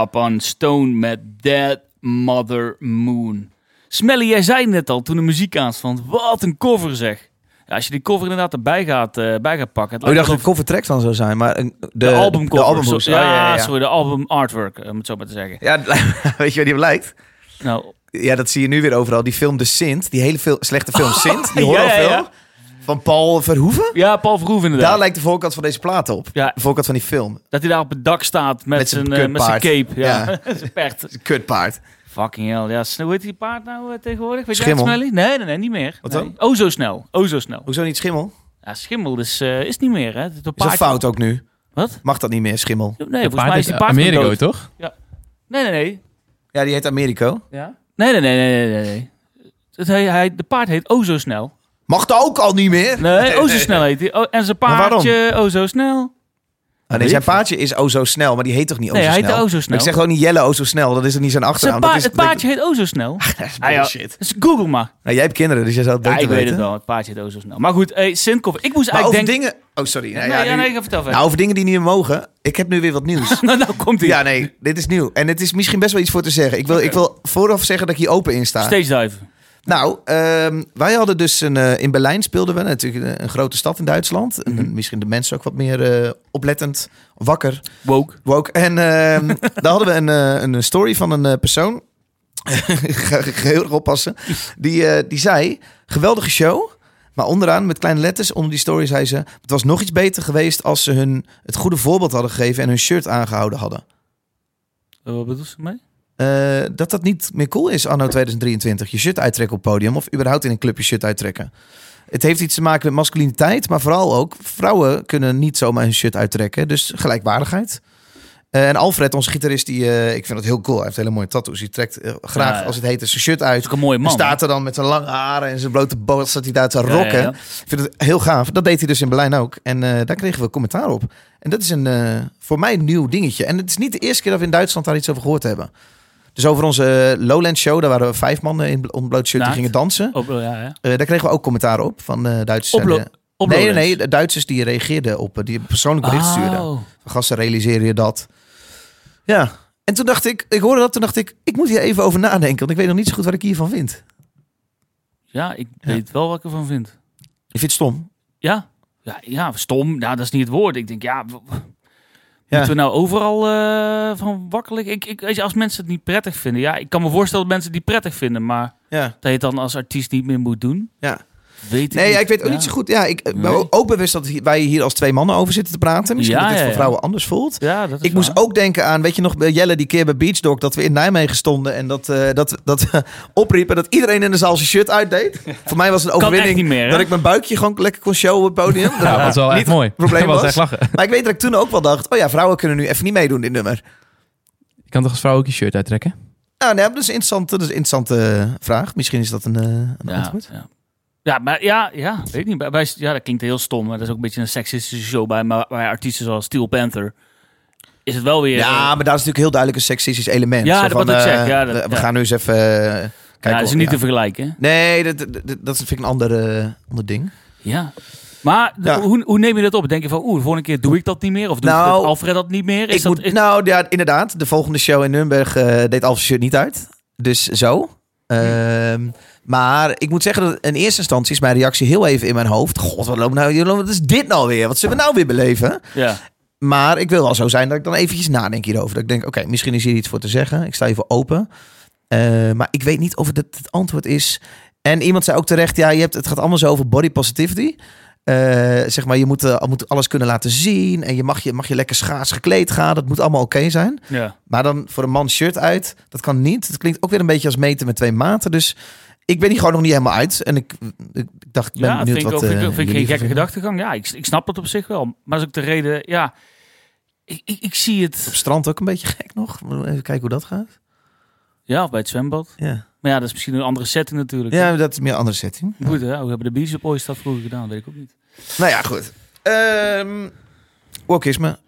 S1: Upon Stone met Dead Mother Moon. Smelly, jij zei net al toen de muziek aanstond, wat een cover zeg. Ja, als je die cover inderdaad erbij gaat, eh, bij gaat pakken. het
S2: Oh, ik dacht
S1: lijkt
S2: dat de covertrack dan zou zijn, maar een- de,
S1: de, albumcover.
S2: De albumhoes.
S1: Zo- ja,
S2: Oh, ja, ja.
S1: sorry, de album artwork, eh, om het zo maar te zeggen.
S2: Ja, weet je waar die op lijkt? *laughs*
S1: Nou,
S2: Ja, dat zie je nu weer overal. Die film De Sint, die hele veel, slechte film Sint, die
S1: Oh, Ja, ja,
S2: horrorfilm
S1: ja.
S2: van Paul Verhoeven.
S1: ja, Paul Verhoeven inderdaad.
S2: Daar lijkt de voorkant van deze plaat op.
S1: Ja.
S2: De voorkant van die film.
S1: Dat hij daar op het dak staat met,
S2: Met zijn
S1: zijn, eh, met zijn cape.
S2: kutpaard.
S1: *laughs* Ja, zijn pert.
S2: Kutpaard.
S1: Fucking hell. Ja, sn- hoe heet die paard nou eh, tegenwoordig? Weet
S2: Schimmel.
S1: Jij het, Smelly? nee, nee, nee, niet meer.
S2: Wat
S1: nee.
S2: dan?
S1: Oh, zo snel. Oh, zo snel.
S2: Hoezo niet schimmel?
S1: Ja, schimmel is, eh, is niet meer, hè? Dat
S2: Is dat fout ook nu?
S1: Wat?
S2: Mag dat niet meer, schimmel?
S1: Nee, volgens mij
S4: Paard
S1: is die
S4: uit
S1: paard gewoon
S4: Amerigo,
S1: dood.
S4: toch?
S1: Nee, nee, nee.
S2: Ja, die heet Americo.
S1: Nee, nee, nee, nee, nee, nee, nee. Het, hij, hij, de paard heet Oh Zo Snel.
S2: Mag dat ook al niet meer? *laughs*
S1: Nee, Oh Zo Snel heet hij. Oh, en zijn
S2: Maar waarom?
S1: paardje Oh Zo Snel.
S2: Ah, nee, zijn paardje is O Zo Snel, maar die heet toch niet O
S1: Nee,
S2: Zo
S1: hij
S2: Snel?
S1: heet O Zo Snel.
S2: Maar Ik zeg gewoon niet Jelle O Zo Snel, dat is er niet zijn
S1: Zijn
S2: achternaam.
S1: paard-
S2: dat is,
S1: het paardje heet Oh Zo Snel.
S2: dat is
S1: Ah, ja.
S2: bullshit.
S1: Dus Google maar.
S2: Nou, jij hebt kinderen, dus jij zou het
S1: Ja,
S2: beter
S1: ik weet
S2: weten.
S1: het wel. Het paardje heet Oh Zo Snel. Maar goed, hey, Sintkoff. Ik moest
S2: Maar over
S1: eigenlijk denken...
S2: dingen... Oh, sorry. Nou,
S1: Nee,
S2: ja,
S1: ja,
S2: nu-
S1: nee, ga vertel verder.
S2: nou, over dingen die niet meer mogen. Ik heb nu weer wat
S1: *laughs*
S2: nieuws.
S1: Nou, nou komt hij.
S2: *laughs* ja, nee, dit is nieuw. En het is misschien best wel iets voor te zeggen. Ik wil, ik wil vooraf zeggen dat ik hier open in sta.
S1: Stage dive.
S2: Nou, ehm, wij hadden dus een, eh, in Berlijn speelden we natuurlijk een, een grote stad in Duitsland. En
S1: Mhm.
S2: Misschien de mensen ook wat meer eh, oplettend, wakker,
S1: Woke.
S2: woke. En ehm, daar hadden we een, eh, een story van een eh, persoon. *laughs* Ik ga ik ga heel erg oppassen. Die, eh, die zei: geweldige show. Maar onderaan met kleine letters onder die story zei ze: het was nog iets beter geweest als ze hun het goede voorbeeld hadden gegeven en hun shirt aangehouden hadden.
S1: Eh, Wat bedoelt ze mee?
S2: Eh, dat dat niet meer cool is anno 2023. Je shirt uittrekken op het podium of überhaupt in een club je shirt uittrekken. Het heeft iets te maken met masculiniteit, maar vooral ook vrouwen kunnen niet zomaar hun shirt uittrekken. Dus gelijkwaardigheid. Eh, en Alfred, onze gitarist, die, eh, ik vind dat heel cool. Hij heeft hele mooie tattoos. Die trekt eh, graag,
S1: Ja, ja.
S2: als het heet, zijn shirt uit.
S1: is ook een mooie
S2: En
S1: man.
S2: staat er dan met zijn lange haren en zijn blote borst, staat hij daar te
S1: Ja, ja,
S2: rocken.
S1: ja.
S2: Ik vind het heel gaaf. Dat deed hij dus in Berlijn ook. En eh, daar kregen we commentaar op. En dat is een, eh, voor mij een nieuw dingetje. En het is niet de eerste keer dat we in Duitsland daar iets over gehoord hebben. Dus over onze eh, Lowland Show, daar waren we vijf mannen in bl- ontbloot shirt die
S1: Naakt.
S2: gingen dansen.
S1: Op, ja, ja.
S2: Eh, daar kregen we ook commentaar op van eh Duitsers.
S1: Oplo-
S2: en, eh,
S1: Op
S2: nee, nee,
S1: Lowlands.
S2: nee, de Duitsers die reageerden op, eh, die een persoonlijk bericht stuurden.
S1: Oh.
S2: Gasten, realiseer je dat? Ja. En toen dacht ik, ik hoorde dat, toen dacht ik, ik moet hier even over nadenken, want ik weet nog niet zo goed wat ik hiervan vind.
S1: Ja, ik weet wel wat ik ervan vind.
S2: Ik vind het stom.
S1: Ja? Ja, ja stom. Ja, dat is niet het woord. Ik denk, ja... w- w-
S2: Ja.
S1: Moeten we nou overal eh, van wakker liggen? Ik, ik, weet je, als mensen het niet prettig vinden... Ja, ik kan me voorstellen dat mensen het niet prettig vinden... maar
S2: Ja.
S1: dat je het dan als artiest niet meer moet doen...
S2: Ja.
S1: Weet ik
S2: Nee,
S1: niet.
S2: ja, ik weet ook
S1: Ja.
S2: niet zo goed. Ja, ik eh, ben
S1: Nee.
S2: ook- ook bewust dat wij hier als twee mannen over zitten te praten. Misschien
S1: Ja,
S2: dat het
S1: ja,
S2: voor
S1: ja.
S2: vrouwen anders voelt.
S1: Ja, dat is
S2: Ik moest
S1: waar.
S2: ook denken aan, weet je nog, bij Jelle die keer bij Beach Dog... dat we in Nijmegen stonden en dat, eh, dat, dat *laughs* we opriepen... dat iedereen in de zaal zijn shirt
S1: *laughs*
S2: uitdeed. Voor mij was het een
S1: Kan
S2: overwinning
S1: echt niet meer, hè?
S2: dat ik mijn buikje gewoon lekker kon showen op
S1: *laughs*
S2: het podium. Dat
S4: Ja, dat is wel echt
S2: niet
S4: mooi.
S2: het probleem
S4: *laughs* dat was
S2: was.
S4: echt
S2: *laughs*
S4: lachen.
S2: Maar ik weet dat ik toen ook wel dacht... oh ja, vrouwen kunnen nu even niet meedoen dit nummer.
S4: Je kan toch als vrouw ook je shirt uittrekken?
S2: Nou, nee, dat is een interessante, dat is een interessante eh, vraag. Misschien is dat een, eh, een
S1: Ja,
S2: antwoord.
S1: ja. ja, maar ja, ja, weet ik niet. Bij- bij- ja, dat klinkt heel stom. Maar dat is ook een beetje een seksistische show bij, maar bij artiesten zoals Steel Panther. Is het wel weer... eh,
S2: Ja, maar daar is natuurlijk heel duidelijk een seksistisch element.
S1: Ja,
S2: Zo
S1: dat
S2: van,
S1: wat ik zeg.
S2: eh,
S1: Ja, dat-
S2: we- we
S1: ja.
S2: gaan nu eens even eh, kijken.
S1: ja, dat
S2: of-
S1: is niet
S2: ja.
S1: te vergelijken. hè?
S2: Nee, dat, dat, dat- dat vind ik een ander, eh, ander ding.
S1: Ja. Maar de-
S2: Ja.
S1: Hoe, hoe neem je dat op? Denk je van, oeh, de volgende keer doe ik dat niet meer? Of doet
S2: Nou,
S1: dat Alfred dat niet meer? Is
S2: Ik
S1: dat,
S2: moet,
S1: is-
S2: nou ja, inderdaad. De volgende show in Nürnberg eh, deed Alpha Shirt niet uit. Dus zo.
S1: Hm.
S2: Ehm, maar ik moet zeggen dat in eerste instantie is mijn reactie heel even in mijn hoofd. God, wat, loopt nou, wat is dit nou weer? Wat zullen we nou weer beleven?
S1: ja.
S2: Maar ik wil wel zo zijn dat ik dan eventjes nadenk hierover. Dat ik denk, oké, misschien is hier iets voor te zeggen. Ik sta hiervoor open. Eh, maar ik weet niet of het het antwoord is. En iemand zei ook terecht, ja, je hebt, het gaat allemaal zo over body positivity. Eh, zeg maar, je moet, eh, moet alles kunnen laten zien. En je mag je, mag je lekker schaars gekleed gaan. Dat moet allemaal oké zijn.
S1: ja.
S2: Maar dan voor een man shirt uit, dat kan niet. Het klinkt ook weer een beetje als meten met twee maten. Dus ik ben hier gewoon nog niet helemaal uit. En ik, ik dacht, ik ben
S1: Ja,
S2: benieuwd
S1: vind ik,
S2: wat
S1: ook, vind ik-
S2: eh,
S1: vind ik geen
S2: jullie
S1: gekke
S2: ervan vinden.
S1: gedachtegang. Ja, ik, ik snap het op zich wel. Maar dat is ook de reden, ja... Ik, ik, ik zie
S2: Op
S1: het,
S2: strand ook een beetje gek nog. Even kijken hoe dat gaat.
S1: ja, of bij het zwembad.
S2: Ja.
S1: Maar ja, dat is misschien een andere setting natuurlijk.
S2: Ja, maar dat is meer een andere setting.
S1: Goed, hè? Hoe hebben de Beach Boys dat vroeger gedaan? Weet ik ook niet.
S2: Nou ja, goed. Ehm wokisme.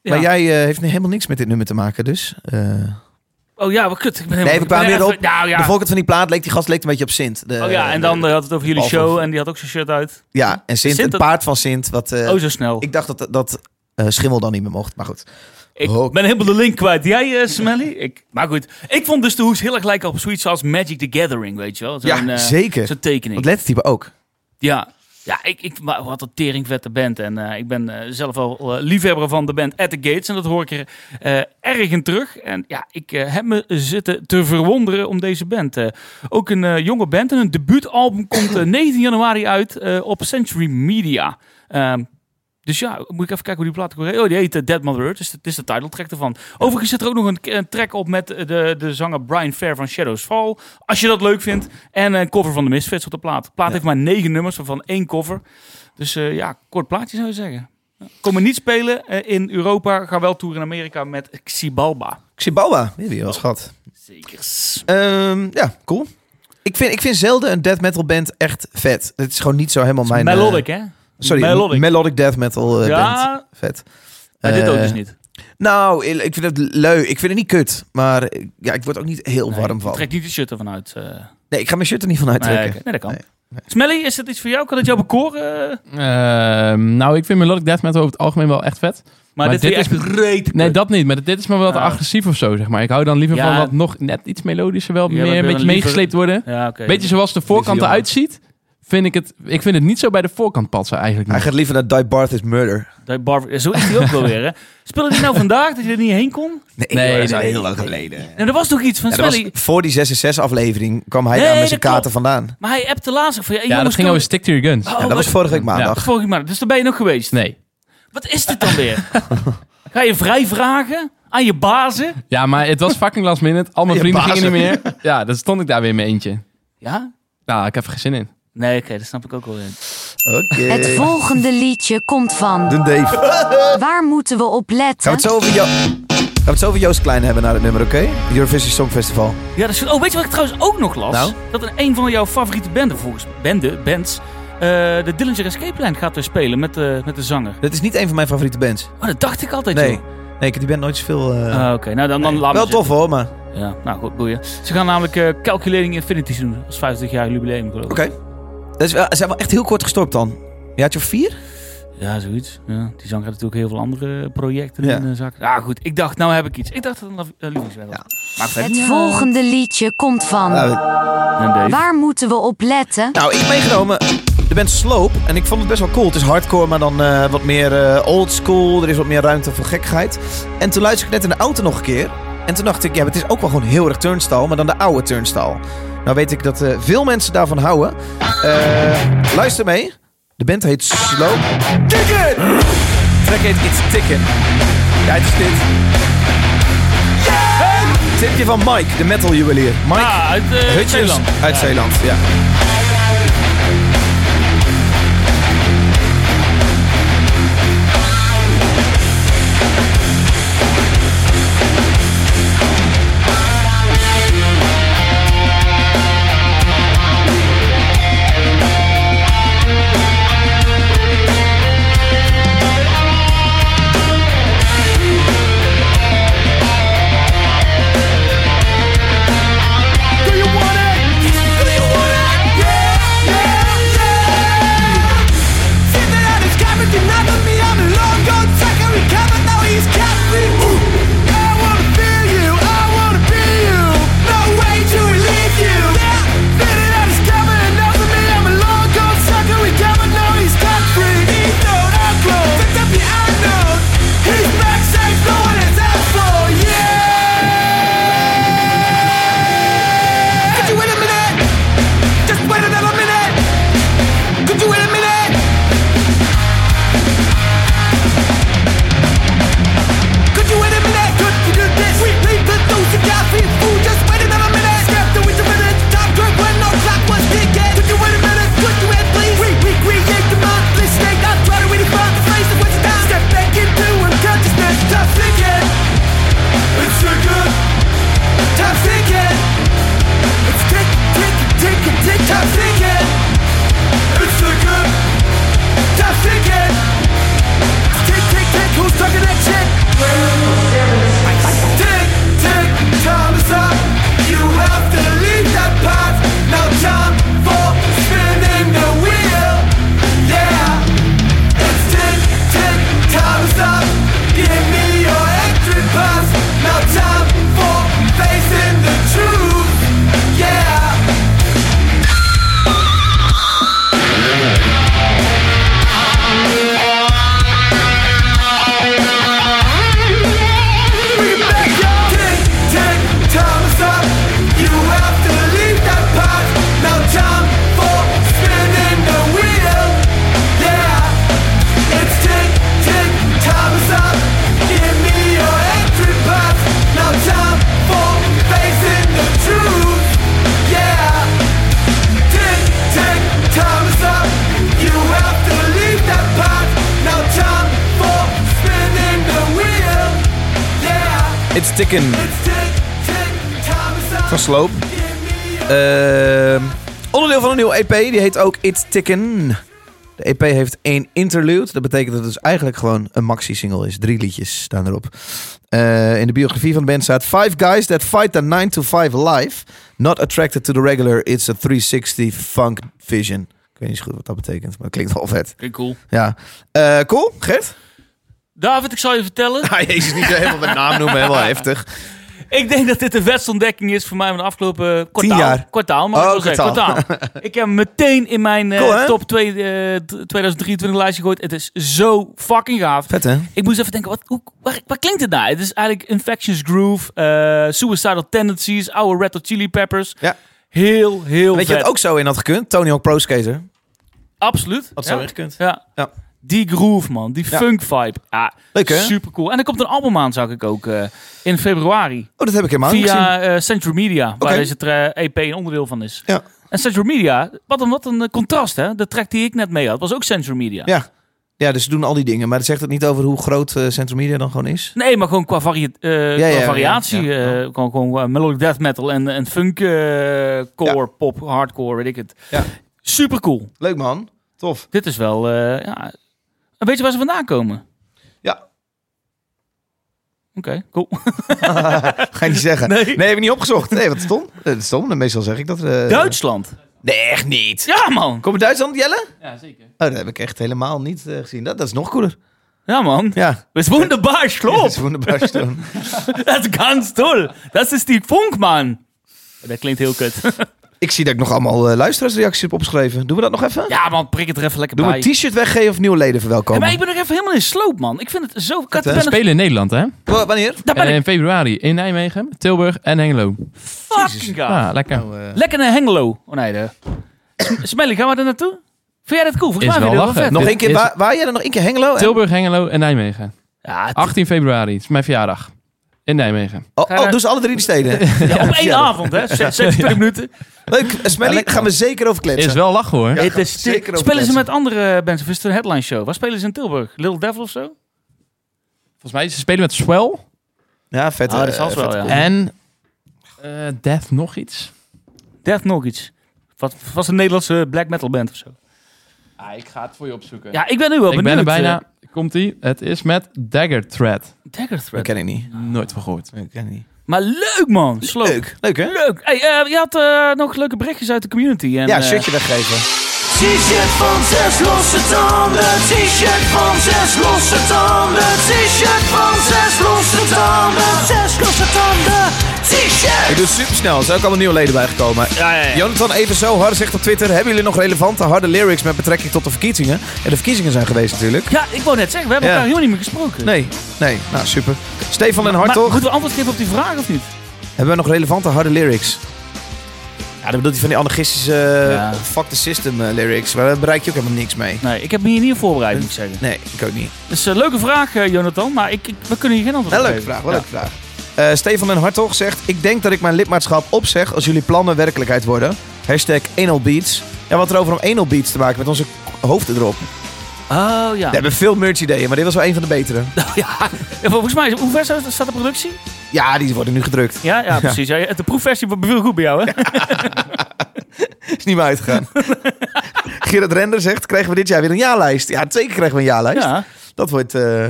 S1: Ja.
S2: Maar jij eh, heeft nu helemaal niks met dit nummer te maken, dus. eh.
S1: Oh ja, wat kut. Ik ben helemaal...
S2: nee, we kwamen
S1: ik ben
S2: weer op.
S1: even- Nou ja.
S2: De voorkant van die plaat leek die gast leek een beetje op Sint. De,
S1: oh ja, en dan eh, had het over jullie
S2: Behalve-
S1: show en die had ook zijn shirt uit.
S2: ja, en Sint,
S1: Sint
S2: een
S1: dat-
S2: paard van Sint. Wat, eh,
S1: oh, zo snel.
S2: Ik dacht dat, dat eh, Schimmel dan niet meer mocht, maar goed.
S1: Ik
S2: Oké.
S1: ben helemaal de link kwijt. Jij, eh, Smelly? Ik, maar goed, ik vond dus de hoes heel erg lijken op zoiets als Magic the Gathering, weet je wel? Zo'n,
S2: Ja,
S1: eh,
S2: zeker.
S1: Zo'n tekening.
S2: Dat lettertype ook.
S1: Ja, ja ik, ik, maar wat een teringvette band. En eh, ik ben eh, zelf al eh, liefhebber van de band At The Gates. En dat hoor ik er eh, erg in terug. En ja, ik eh, heb me zitten te verwonderen om deze band. Eh, ook een eh, jonge band. En een debuutalbum komt eh, 19 januari uit eh, op Century Media. Ehm, dus ja, moet ik even kijken hoe die plaat ook weer- Oh, die heet eh, Dead Mother Earth. Dus dat is de titeltrack ervan. Overigens zit er ook nog een, een track op met eh, de, de zanger Brian Fair van Shadows Fall. Als je dat leuk vindt. En een cover van de Misfits op de plaat. De plaat heeft maar negen nummers, waarvan één cover. Dus eh, ja, kort plaatje zou je zeggen. Ja. Komen niet spelen eh, in Europa. Gaan wel toeren in Amerika met Xibalba.
S2: Xibalba, die heb je wel schat.
S1: Zeker.
S2: Ehm, ja, cool. Ik vind, ik vind zelden een death metal band echt vet. Het is gewoon niet zo helemaal mijn... eh,
S1: Melodic, hè?
S2: sorry, melodic.
S1: Melodic.
S2: death metal eh, band.
S1: ja,
S2: Vet.
S1: maar dit ook
S2: Eh,
S1: dus niet.
S2: Nou, ik ik vind het leuk. Ik vind het niet kut. Maar eh, ja, ik word ook niet heel warm van.
S1: Trek niet de shirt ervan uit. eh. nee,
S2: Nee, ik ga mijn shirt er niet van uittrekken.
S1: oké. nee, dat kan.
S2: Nee,
S1: Smelly, is dat iets voor jou? Kan het jou bekoren? eh?
S4: Ehm, nou, ik vind melodic death metal over het algemeen wel echt vet.
S1: Maar,
S4: Maar
S1: dit, is
S4: dit
S1: echt reet.
S4: Nee, dat niet. Maar dit is maar wat
S1: Ah.
S4: agressief of zo, zeg maar. Ik hou dan liever
S1: Ja.
S4: van wat nog net iets melodischer wel
S1: Ja, dat
S4: meer een
S1: wil
S4: beetje
S1: een liever-
S4: meegesleept worden.
S1: Ja, oké.
S4: Beetje zoals de voorkant
S1: jongen.
S4: eruit ziet, vind ik het... Ik vind het niet zo bij de voorkant passen eigenlijk.
S2: Hij
S4: nog.
S2: gaat liever naar Die Barth is Murder.
S1: Dat Bar- Zo is die ook wel weer, hè? Speelde die nou vandaag dat je er niet heen kon?
S2: Nee,
S4: Nee,
S2: dat is al
S4: nee,
S2: heel lang geleden. Ja,
S1: En er was toch iets van
S2: dat
S1: Smelly.
S2: was voor die 666 aflevering kwam hij
S1: Nee,
S2: daar met
S1: dat
S2: zijn
S1: klopt.
S2: kaarten vandaan.
S1: Maar hij appte laatst ook van... Hey,
S4: ja, dat
S1: jongens,
S4: ging
S1: kan-
S4: over Stick to Your Guns.
S1: Oh,
S2: Ja, dat
S1: wat-
S2: was vorige week
S1: Ja,
S2: maandag.
S1: vorige maand. Dus daar ben je nog geweest.
S4: Nee.
S1: Wat is dit dan weer? Ga je vrij vragen aan je bazen?
S4: Ja, maar het was fucking last minute. Al mijn
S2: Je
S4: vrienden
S2: bazen.
S4: gingen niet meer. Ja, dan stond ik daar weer in mijn eentje.
S1: Ja?
S4: Nou, ik heb er geen zin in.
S1: Nee, oké, dat snap ik ook wel in.
S2: Oké.
S5: Het volgende liedje komt van.
S2: Eh. De Dave. Gaan
S5: Waar moeten we op
S2: we
S5: letten?
S2: het zo over, Jo- Gaan we het zo over Joost Klein hebben naar het nummer, oké? Eurovision Songfestival.
S1: Ja, dat is goed. Oh, weet je wat ik trouwens ook nog las?
S2: Nou?
S1: Dat een, een van jouw favoriete banden, volgens bende, bands... eh, de Dillinger Escape Line gaat weer spelen met, eh, met de zanger.
S2: Dat is niet een van mijn favoriete bands.
S1: Oh, dat dacht ik altijd,
S2: Nee,
S1: joh.
S2: nee ik heb die band nooit zoveel... eh,
S1: Ah, Oké, nou dan, dan laat
S2: wel tof hoor, maar... Oké.
S1: Ja, nou goed, boeien. Ze gaan namelijk eh, Calculating Infinities doen als 50 jaar jubileum, geloof ik.
S2: Dat is wel- Ze zijn wel echt heel kort gestopt dan. Je had je vier?
S1: Ja, zoiets. Ja, die zanger had natuurlijk heel veel andere eh, projecten
S2: Ja.
S1: in de zak. Ja, goed. Ik dacht, nou heb ik iets. Ik dacht dat het een uh, liefdeswet was.
S2: Ja.
S1: Maar verder.
S5: Het volgende liedje komt van.
S2: Nou,
S1: En deze.
S5: Waar moeten we op letten?
S2: nou, ik heb meegenomen de band Sloop. En ik vond het best wel cool. Het is hardcore, maar dan eh, wat meer eh, old school. Er is wat meer ruimte voor gekkigheid. En toen luisterde ik net in de auto nog een keer. En toen dacht ik, ja, maar het is ook wel gewoon heel erg turnstile. Maar dan de oude turnstile. Nou weet ik dat eh, veel mensen daarvan houden. Eh, luister mee. De band heet Sloop. Ticket! Track heet It's Ticket. Ja, het is dit. Tipje van Mike, de metal juwelier. Mike
S1: Ah, uit eh,
S2: Hutjes
S1: Zeeland.
S2: uit Zeeland, ja.
S7: Do you want it? Do you want it?
S2: It's Tikken van Sloop. Ehm, onderdeel van een nieuwe EP, die heet ook It's Tikken. De EP heeft één interlude. Dat betekent dat het dus eigenlijk gewoon een maxi-single is. Drie liedjes staan erop. Eh, in de biografie van de band staat... Five guys that fight the 9-to-5 life. Not attracted to the regular. It's a 360 funk vision. Ik weet niet zo goed wat dat betekent, maar het klinkt wel vet.
S1: Klinkt cool.
S2: Ja. Eh, cool, Gert?
S1: David, ik zal je vertellen.
S2: *laughs* Ah, jezus, niet helemaal met naam noemen. Helemaal heftig.
S1: Ik denk dat dit de beste ontdekking is voor mij van de afgelopen eh, kwartaal.
S2: jaar.
S1: Kwartaal, maar
S2: Oh,
S1: ik wil zeggen,
S2: kwartaal.
S1: kwartaal.
S2: *laughs*
S1: ik heb hem meteen in mijn eh,
S2: Cool, hè?
S1: top twee, eh, d- 2023 lijstje gegooid. Het is zo fucking gaaf.
S2: Vet, hè?
S1: Ik moest even denken, wat, hoe, waar, waar klinkt het nou? Het is eigenlijk Infectious Groove, eh, Suicidal Tendencies, oude Red Hot Chili Peppers.
S2: Ja.
S1: Heel, heel
S2: Weet je
S1: vet.
S2: wat ook zo in had gekund? Tony Hawk Pro Skater.
S1: Absoluut.
S2: Had
S1: ja.
S2: zo in gekund.
S1: Ja.
S2: Ja.
S1: Die groove, man. Die
S2: Ja.
S1: funk vibe. Ja,
S2: Leuk, hè?
S1: Super cool. En er komt een album aan, zag ik ook, eh, in februari.
S2: Oh, dat heb ik helemaal niet gezien.
S1: Via eh Central Media, waar
S2: Oké.
S1: deze tra- EP een onderdeel van is.
S2: Ja.
S1: En Central Media, wat een, wat een eh, contrast hè. De track die ik net mee had, was ook Central Media.
S2: Ja. Ja, dus ze doen al die dingen. Maar dat zegt het niet over hoe groot eh Central Media dan gewoon is.
S1: Nee, maar gewoon qua, varia- eh,
S2: Ja,
S1: qua
S2: ja, ja,
S1: variatie.
S2: ja.
S1: eh, gewoon, gewoon eh, melodic death metal en, en funk, eh, core, pop, hardcore, weet ik het.
S2: Ja.
S1: Super cool.
S2: Leuk man. Tof.
S1: Dit is wel, eh ja... Weet je waar ze vandaan komen?
S2: Ja.
S1: Oké, cool.
S2: Eh. Ga je niet *laughs* zeggen.
S1: Nee.
S2: heb ik niet opgezocht. Nee, wat stom. Eh, stom. Dan Meestal zeg ik dat.
S1: *laughs*
S2: eh,
S1: Duitsland.
S2: Nee, echt niet.
S1: Ja, man.
S2: Kom uit Duitsland, Jelle?
S4: Ja, zeker.
S2: Oh, dat heb ik echt helemaal niet eh, gezien. Dat, dat is nog cooler.
S1: Ja, man.
S2: Ja.
S1: Das ist wunderbar,
S2: *laughs* Dat
S1: Schlob.
S2: is wunderbar stom.
S1: Das ist ganz toll. Das ist die Funk, man. Dat klinkt heel
S2: *laughs*
S1: kut.
S2: ik zie dat ik nog allemaal eh, luisteraarsreacties heb opgeschreven. Doen we dat nog even?
S1: Ja, man, prik het er even lekker
S2: Doen we
S1: bij.
S2: een t-shirt weggeven of nieuwe leden
S1: Ja,
S2: verwelkomen?
S1: maar ik ben er even helemaal in sloop, man. Ik vind het zo... Ik had-
S2: hè?
S1: ben er-
S4: Spelen in Nederland, hè?
S2: Wa- Wanneer?
S1: daar ben
S4: Eh,
S1: ik
S4: in februari in Nijmegen, Tilburg en Hengelo.
S2: Eh,
S1: fucking gaaf.
S4: Ja, lekker.
S1: Lekker naar Hengelo. Oh nee, de... Smelly, gaan we er naartoe? Vind jij dat cool? Volgens
S4: Is
S1: mij vind je dat
S4: wel lachen.
S1: vet.
S2: Nog
S4: Dit
S2: één keer.
S4: is-
S2: Waar, waar jij dan nog één keer Hengelo? en-
S4: Tilburg, Hengelo en Nijmegen.
S1: Ja, het-
S4: 18 februari, het is mijn verjaardag. In Nijmegen.
S2: Oh,
S1: Ga je
S2: oh, dus alle drie de
S4: *laughs*
S2: steden.
S1: ja, op één
S2: Ja.
S1: avond, hè? 26 minuten.
S2: Leuk. eh, Smelly,
S4: lekker.
S2: gaan we zeker over kletsen.
S4: Is wel lachen hoor.
S1: Het is
S2: zeker over
S1: spelen ze
S2: kletsen.
S1: met andere bands? Of is het een headline show? Waar spelen ze in Tilburg? Little Devil of zo?
S4: Volgens mij ze spelen met Swell
S2: Ja, vet.
S1: Ah, dat
S2: eh,
S1: zal
S2: vet.
S1: wel, ja.
S4: en eh, Death nog iets.
S1: Eh, Death nog iets. Wat was een Nederlandse black metal band of zo?
S4: Ah, ik ga het voor je opzoeken.
S1: Ja, ik ben nu wel
S4: ik
S1: benieuwd.
S4: ben er
S1: eh,
S4: bijna. Komt ie? Het is met Dagger Thread.
S1: Dagger
S2: Dat
S1: Threat.
S2: ken ik niet.
S4: Nooit van gehoord.
S2: Dat ken ik niet.
S1: Maar leuk, man. Sloop. Leuk.
S2: Leuk. Leuk, hè?
S1: Hey, eh, je had eh, nog leuke berichtjes uit de community. En,
S2: Ja,
S1: eh,
S2: shirtje weggeven.
S3: T-shirt van zes losse tanden. T-shirt van zes losse tanden. T-shirt van zes losse tanden. Zes losse tanden. T-shirt.
S2: Ik doe het supersnel. Er zijn ook allemaal nieuwe leden bijgekomen.
S1: Ja, ja, ja.
S2: Jonathan even zo hard zegt op Twitter... hebben jullie nog relevante harde lyrics met betrekking tot de verkiezingen? En de verkiezingen zijn geweest natuurlijk.
S1: Ja, ik wou net zeggen, we hebben
S2: Ja.
S1: elkaar helemaal niet meer gesproken.
S2: Nee, nee. Nou, super. Stefan en
S1: maar,
S2: Hartog.
S1: moeten we antwoord geven op die vraag of niet?
S2: Hebben we nog relevante harde lyrics? Ja, dat bedoelt hij van die anarchistische... eh,
S1: Ja.
S2: Fuck the system eh, lyrics. Maar daar bereik je ook helemaal niks mee.
S1: Nee, ik heb me hier niet op voorbereid, moet ik zeggen.
S2: Nee, ik ook niet.
S1: Dus eh, leuke vraag, eh, Jonathan, maar ik, ik- we kunnen hier geen antwoord
S2: Wel
S1: op
S2: een leuke
S1: geven.
S2: vraag, wel een leuke vraag. Eh, Stefan en Hartog zegt... Ik denk dat ik mijn lidmaatschap opzeg als jullie plannen werkelijkheid worden. Hashtag anal beats. Ja, wat erover om anal beats te maken met onze hoofden erop.
S1: Ja. Oh ja.
S2: We hebben veel merch ideeën, maar dit was wel een van de
S1: *laughs*
S2: betere.
S1: ja. En Volgens mij, is- hoe ver staat staat de productie?
S2: Ja, die worden nu
S1: *laughs*
S2: gedrukt.
S1: Ja, ja precies. Ja, de proefversie beviel goed bij jou, hè?
S2: Is niet meer
S1: *laughs*
S2: uitgegaan. Gerard Render zegt, krijgen we dit jaar weer een jaarlijst? Ja, zeker krijgen we een jaarlijst.
S1: Ja.
S2: Dat wordt eh,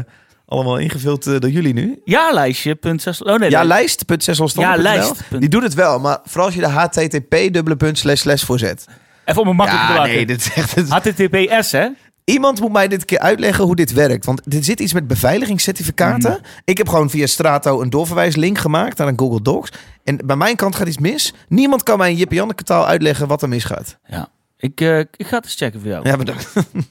S2: allemaal ingevuld eh, door jullie nu.
S1: Jaarlijstje, punt zes. Oh nee, nee.
S2: Jaarlijst.zesselstanden.nl
S1: Jaarlijst.
S2: Die doet het wel, maar vooral als je de http dubbele punt slash slash voor zet.
S1: Even om een makkelijk te
S2: Ja,
S1: maken.
S2: nee, dit is echt... dit is-
S1: HTTPS, hè?
S2: Iemand moet mij dit keer uitleggen hoe dit werkt. Want er zit iets met beveiligingscertificaten.
S1: Mm.
S2: Ik heb gewoon via Strato een doorverwijslink gemaakt aan een Google Docs. En bij mijn kant gaat iets mis. Niemand kan mij in Jip Janneke taal uitleggen wat er misgaat.
S1: Ja. Ik, eh, ik ga het eens checken voor jou.
S2: Ja, bedankt. Er *laughs*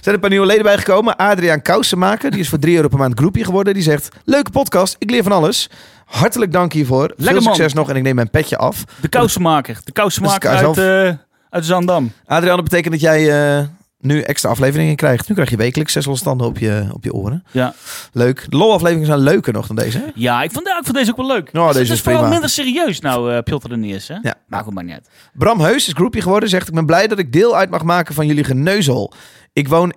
S2: zijn een paar nieuwe leden bijgekomen. Adriaan Kousenmaker, die is voor 3 euro per maand groepje geworden. Die zegt, leuke podcast, ik leer van alles. Hartelijk dank hiervoor. Veel
S1: man.
S2: succes nog en ik neem mijn petje af.
S1: De kousenmaker. De kousenmaker
S2: Dat is de
S1: uit,
S2: kous
S1: eh uit Zandam.
S2: Adriaan, dat betekent dat jij eh, nu extra afleveringen krijgt. Nu krijg je wekelijks zes losstanden op je, op je oren.
S1: Ja.
S2: Leuk. De LOL-afleveringen zijn leuker nog dan deze. hè?
S1: Ja, ik vond, ja, ik vond deze ook wel leuk.
S2: Nou,
S1: Het
S2: deze
S1: is
S2: is
S1: vooral
S2: prima.
S1: minder serieus nou, eh Piotr de Neers, hè?
S2: Ja. Nou,
S1: Maakt het maar niet uit.
S2: Bram Heus is groepje geworden. Zegt, ik ben blij dat ik deel uit mag maken van jullie geneuzel. Ik woon,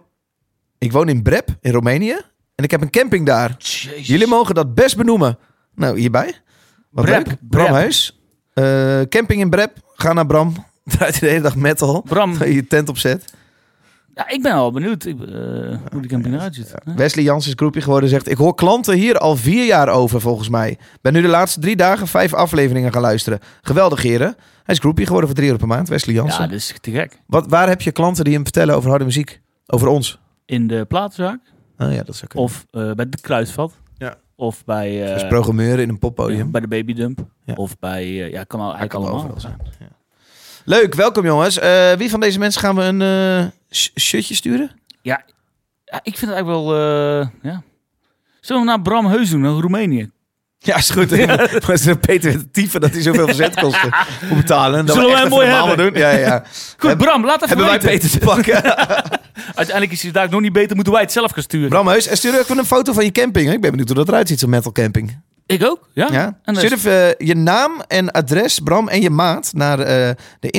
S2: ik woon in Brep, in Roemenië. En ik heb een camping daar.
S1: Jezus.
S2: Jullie mogen dat best benoemen. Nou, hierbij. Wat
S1: Brep,
S2: leuk. Bram
S1: Brep.
S2: Heus. Eh, camping in Brep. Ga naar Bram. *laughs* Draait de hele dag metal.
S1: Bram,
S2: Terwijl je je tent opzet.
S1: ja, ik ben al benieuwd ik, eh, hoe die camping eruit ziet. Hè?
S2: Wesley Jans is groepje geworden. Zegt, ik hoor klanten hier al vier jaar over volgens mij. Ben nu de laatste drie dagen vijf afleveringen gaan luisteren. Geweldig heren. Hij is groepje geworden voor drie euro per maand. Wesley
S1: Ja,
S2: Jansen.
S1: dat is te gek.
S2: Wat, waar heb je klanten die hem vertellen over harde muziek? Over ons?
S1: In de platenzaak
S2: Oh ja, dat zou kunnen.
S1: of eh, bij de Kruisvat.
S2: Ja.
S1: Of bij, eh,
S2: Dus programmeuren in een poppodium.
S1: ja, bij de Babydump.
S2: Ja.
S1: Of bij, eh, ja, kan al,
S2: Hij
S1: eigenlijk
S2: kan
S1: allemaal.
S2: overal zijn. Ja. Leuk, welkom jongens. Eh, wie van deze mensen gaan we een eh, sh- shirtje sturen?
S1: Ja, ik vind het eigenlijk wel, eh, ja. Zullen we naar Bram Heus doen, naar Roemenië?
S2: Ja, is *laughs* goed. Maar is een Peter Tiefen dat hij zoveel verzetkosten *laughs* moet betalen. Dat
S1: Zullen wij
S2: echt
S1: mooi
S2: even normaal
S1: hebben?
S2: doen? Ja, *laughs* ja, ja.
S1: Goed,
S2: Heb-
S1: Bram, laat even
S2: Hebben wij
S1: weten.
S2: Peter te *laughs* pakken?
S1: Uiteindelijk is hij daar nog niet beter, moeten wij het zelf gaan sturen.
S2: Bram Heus, en stuur ook even een foto van je camping. hè? Ik ben benieuwd hoe dat eruit ziet, zo'n metal camping.
S1: Ik ook, ja.
S2: Ja?
S1: En dat
S2: Stuur
S1: is-
S2: even eh, je naam en adres, Bram, en je maat naar eh, de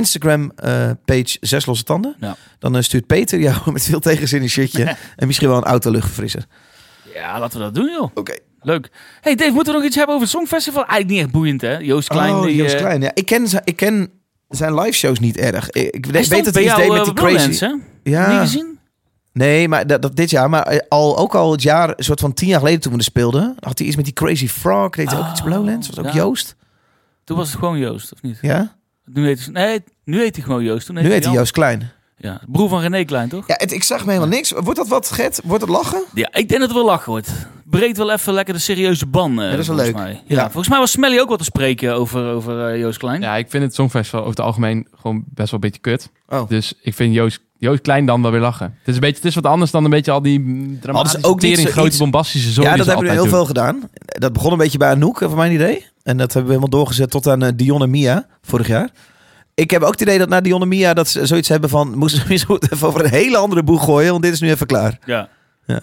S2: Instagram-page Zes Losse Tanden.
S1: Ja.
S2: Dan eh, stuurt Peter jou *laughs* met veel tegenzin een *laughs* shirtje en misschien wel een autoluchtverfrisser.
S1: ja, laten we dat doen, joh.
S2: Oké.
S1: Leuk. hey Dave, moeten we nog iets hebben over het Songfestival? Eigenlijk niet echt boeiend, hè? Joost Klein.
S2: oh,
S1: die,
S2: Joost
S1: eh,
S2: Klein. Ja, ik, ken, zijn- ik ken zijn live shows niet erg. Ik, ik
S1: hij
S2: weet
S1: stond
S2: dat
S1: bij
S2: hij iets
S1: jou,
S2: deed met
S1: eh,
S2: die
S1: op Lowlands,
S2: crazy.
S1: hè? Niet
S2: Ja.
S1: gezien?
S2: Nee, maar dat, dat dit jaar, maar eh, al, ook al het jaar, een soort van tien jaar geleden toen we er speelden, had hij iets met die Crazy Frog. Deed hij ook iets op Lowlands? Was ook
S1: Ah, ja.
S2: Joost?
S1: Toen was het gewoon Joost, of niet?
S2: Ja.
S1: Nu heet, nee, nu heet hij gewoon Joost. Toen
S2: Nu heet hij
S1: Jan.
S2: Joost Klein.
S1: Ja, broer van René Klein, toch?
S2: Ja, het, ik zag me helemaal niks. Wordt dat wat, Gert? Wordt dat lachen?
S1: Ja, ik denk dat het wel lachen wordt. Breekt wel even lekker de serieuze ban, eh
S2: dat is wel
S1: volgens
S2: leuk.
S1: mij. Ja,
S2: Ja.
S1: volgens mij was Smelly ook wat te spreken over, over eh, Joost Klein.
S4: Ja, ik vind het Songfestival over het algemeen gewoon best wel een beetje kut.
S2: Oh.
S4: Dus ik vind Joost, Joost Klein dan wel weer lachen. Het is, een beetje, het is wat anders dan een beetje al die mm, dramatische,
S2: ook niet
S4: tering,
S2: zoiets-
S4: grote, bombastische zooi
S2: ja, dat
S4: die ze
S2: hebben we heel
S4: altijd
S2: veel gedaan. Dat begon een beetje bij Anouk, eh, van mijn idee. En dat hebben we helemaal doorgezet tot aan eh, Dion en Mia vorig jaar. Ik heb ook het idee dat na Dion en Mia dat ze zoiets hebben van... *laughs* moesten ze misschien even over een hele andere boeg gooien, want dit is nu even klaar. Dus
S1: Ja.
S2: Ja.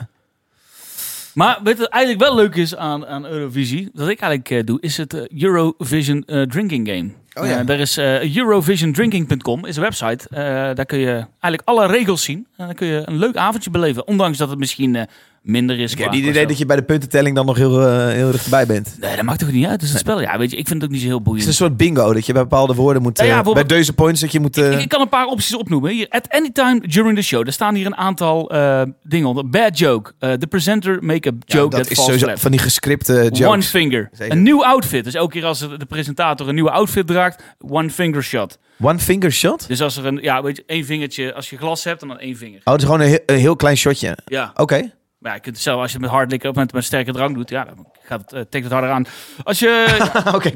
S1: Maar wat het eigenlijk wel leuk is aan, aan Eurovisie, wat ik eigenlijk eh, doe, is het eh, Eurovision eh, Drinking Game.
S2: Oh ja.
S1: Eh, daar is eh, eurovisiondrinking.com, is een website. Eh, daar kun je eigenlijk alle regels zien. En dan kun je een leuk avondje beleven, ondanks dat het misschien eh, minder is.
S2: Ik
S1: qua-
S2: heb niet het
S1: qua
S2: idee
S1: spel.
S2: dat je bij de puntentelling dan nog heel, eh, heel dichtbij bent. Het
S1: Nee, dat maakt toch niet uit? Het is een spel. Ja, weet je, ik vind het ook niet zo heel boeiend.
S2: is een soort bingo, dat je bij bepaalde woorden moet...
S1: Ja, ja,
S2: eh, bij
S1: bijvoorbeeld-
S2: deze points dat je moet... eh,
S1: Ik, ik kan een paar opties opnoemen. Hier, at any time during the show. Er staan hier een aantal eh, dingen onder. Bad joke. eh, the presenter make a
S2: ja,
S1: joke
S2: dat
S1: that
S2: is
S1: falls
S2: sowieso
S1: flat.
S2: van die gescripte jokes.
S1: One finger.
S2: Zeker.
S1: Een nieuw outfit. Dus elke keer als de presentator een nieuwe outfit draagt, one finger shot.
S2: One finger shot?
S1: Dus als er een, ja, weet je, één vingertje, als je glas hebt, dan dan één vinger.
S2: Oh, dat is gewoon een heel, een heel klein shotje. Oké.
S1: Ja, maar ja, je kunt het zelf als je het met hard liquor of met, met sterke drank doet, ja, dan gaat het, eh, tikt het harder aan. Als
S2: *laughs*
S1: je,
S2: Oké,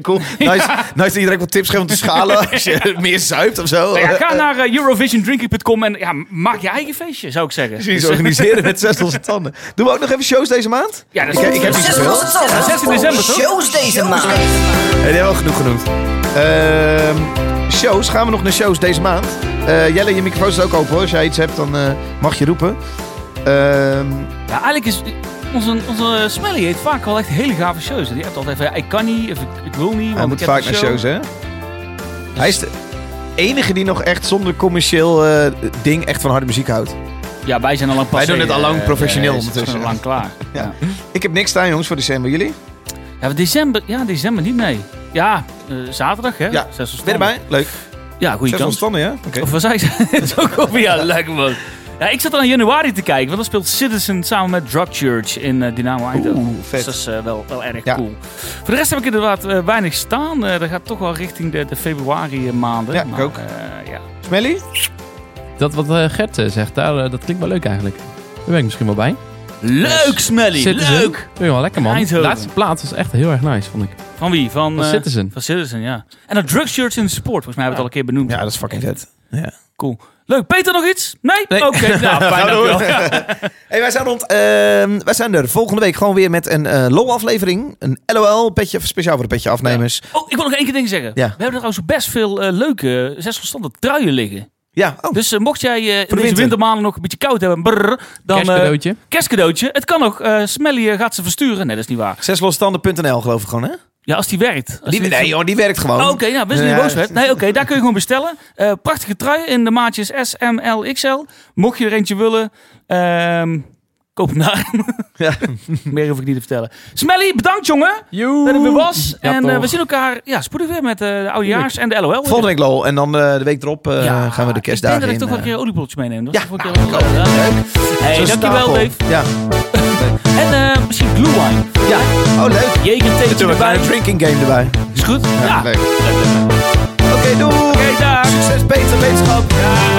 S1: *laughs*
S2: cool. Nice, nice dat je direct wat tips geeft om te schalen als je meer zuipt of zo.
S1: nou ja,
S2: *laughs*
S1: ga naar eh, eurovisiondrinking.com en ja, maak je eigen feestje, zou ik zeggen. Dus,
S2: Precies, organiseren met zes losse tanden. Doen we ook nog even shows deze maand?
S1: Ja, dat is
S2: ik, ik heb niet
S6: Zes
S2: zoveel.
S6: losse tanden.
S1: 16 december, toch?
S6: Shows deze maand.
S2: Nee, die hebben we al genoeg genoemd. Ehm, shows, gaan we nog naar shows deze maand? Eh, Jelle, je microfoon is ook open hoor. Als jij iets hebt, dan eh, mag je roepen. Ehm,
S1: Ja, eigenlijk is onze, onze Smelly heeft vaak wel echt hele gave shows. Die hebt altijd even, ja, ik kan niet, of ik, ik wil niet, want
S2: hij
S1: ik
S2: moet
S1: heb
S2: vaak
S1: een
S2: naar
S1: show. Dus-
S2: shows, hè? Hij is de enige die nog echt zonder commercieel eh, ding echt van harde muziek houdt.
S1: Ja, wij zijn al een passé,
S2: doen het al
S1: eh,
S2: lang
S1: eh,
S2: professioneel
S1: is het gewoon
S2: ondertussen.
S1: lang klaar.
S2: *laughs* Ja.
S1: ja.
S2: Ik heb niks staan, jongens, voor december. Jullie?
S1: Ja, maar december, ja, december niet mee. Ja, eh, zaterdag, hè?
S2: Ja,
S1: Zes van
S2: Ben je
S1: Stammen.
S2: erbij? Leuk.
S1: Ja, goede
S2: Zes
S1: kans.
S2: ontstanden, ja? Oké.
S1: Of was hij? *laughs* Het is ook over ja, lekker man. Ja, ik zat al in januari te kijken, want dan speelt Citizen samen met Drug Church in eh, Dynamo Eindhoven.
S2: Oeh, vet.
S1: Dus dat is eh, wel, wel erg
S2: Ja.
S1: cool. Voor de rest heb ik inderdaad eh, weinig staan. Eh dat gaat toch wel richting de, de februari eh, maanden.
S2: Ja, ik
S1: Maar,
S2: ook.
S1: eh, ja.
S2: Smelly?
S4: doen. Dat wat eh, Gert eh, zegt, daar, eh, dat klinkt wel leuk eigenlijk. Daar ben ik misschien wel bij.
S1: Leuk, Smelly!
S4: Citizen.
S1: Leuk!
S4: Vind ik wel lekker man. De
S1: Eindhoven.
S4: laatste plaats was echt heel erg nice, vond ik.
S1: Van wie? Van,
S4: Van
S1: eh,
S4: Citizen.
S1: Van Citizen, ja. En dat Drug Church in de sport, volgens mij hebben we het al een keer benoemd.
S2: Ja, dat is fucking vet.
S1: Cool. Leuk. Peter, nog iets? Nee? Oké,
S2: *laughs*
S1: nou, *laughs* fijn
S2: door.
S1: dankjewel.
S2: *laughs*
S1: Ja. *laughs*
S2: Hey, wij, zijn rond, ehm, wij zijn er volgende week gewoon weer met een eh LOL-aflevering. Een LOL-petje, speciaal voor de petje afnemers. Ja,
S1: Oh, ik wil nog één keer ding zeggen.
S2: Ja.
S1: We hebben trouwens best veel eh, leuke eh, zes verstanden truien liggen.
S2: oh,
S1: Dus eh, mocht jij eh, in deze
S2: winter.
S1: wintermaanden nog een beetje koud hebben, brrr, dan... eh,
S4: Kerstcadeautje.
S1: kerstcadeautje. Het kan nog. eh Smelly eh, gaat ze versturen. Nee, dat is niet waar.
S2: zeslosstanden.nl geloof ik gewoon, hè?
S1: Ja, als die werkt. Als
S2: Die,
S1: die-
S2: nee, joh, die werkt gewoon.
S1: Oh, Oké, nou, wist
S2: Ja.
S1: niet boos werd. Nee, oké, daar kun je gewoon bestellen. Eh, prachtige trui in de maatjes S, M, L, XL. Mocht je er eentje willen, ehm, *laughs* Kopenhagen.
S2: Ja.
S1: Meer hoef ik niet te vertellen. Smelly, bedankt jongen dat het weer was. en eh, we zien elkaar ja, spoedig weer met eh, de oudejaars en de LOL.
S2: Volgende week lol. En dan eh, de week erop eh,
S1: Ja,
S2: gaan we de
S1: Ik denk
S2: kerstdagen
S1: dat ik
S2: in.
S1: toch wel een
S2: eh,
S1: keer oliebroodjes meeneem. Dat
S2: Ja,
S1: is de vorige keer wel leuk. Hey,
S2: zo'n
S1: dankjewel
S2: stapel.
S1: Dave.
S2: Ja.
S1: En eh, misschien glue wine.
S2: ja. Oh, leuk.
S1: Jeker tegen
S2: Natuurlijk,
S1: erbij.
S2: een drinking game erbij.
S1: Is goed?
S2: Ja, leuk. Oké, doei.
S1: Oké, dag.
S2: Succes, Peter, wetenschap.
S1: Ja.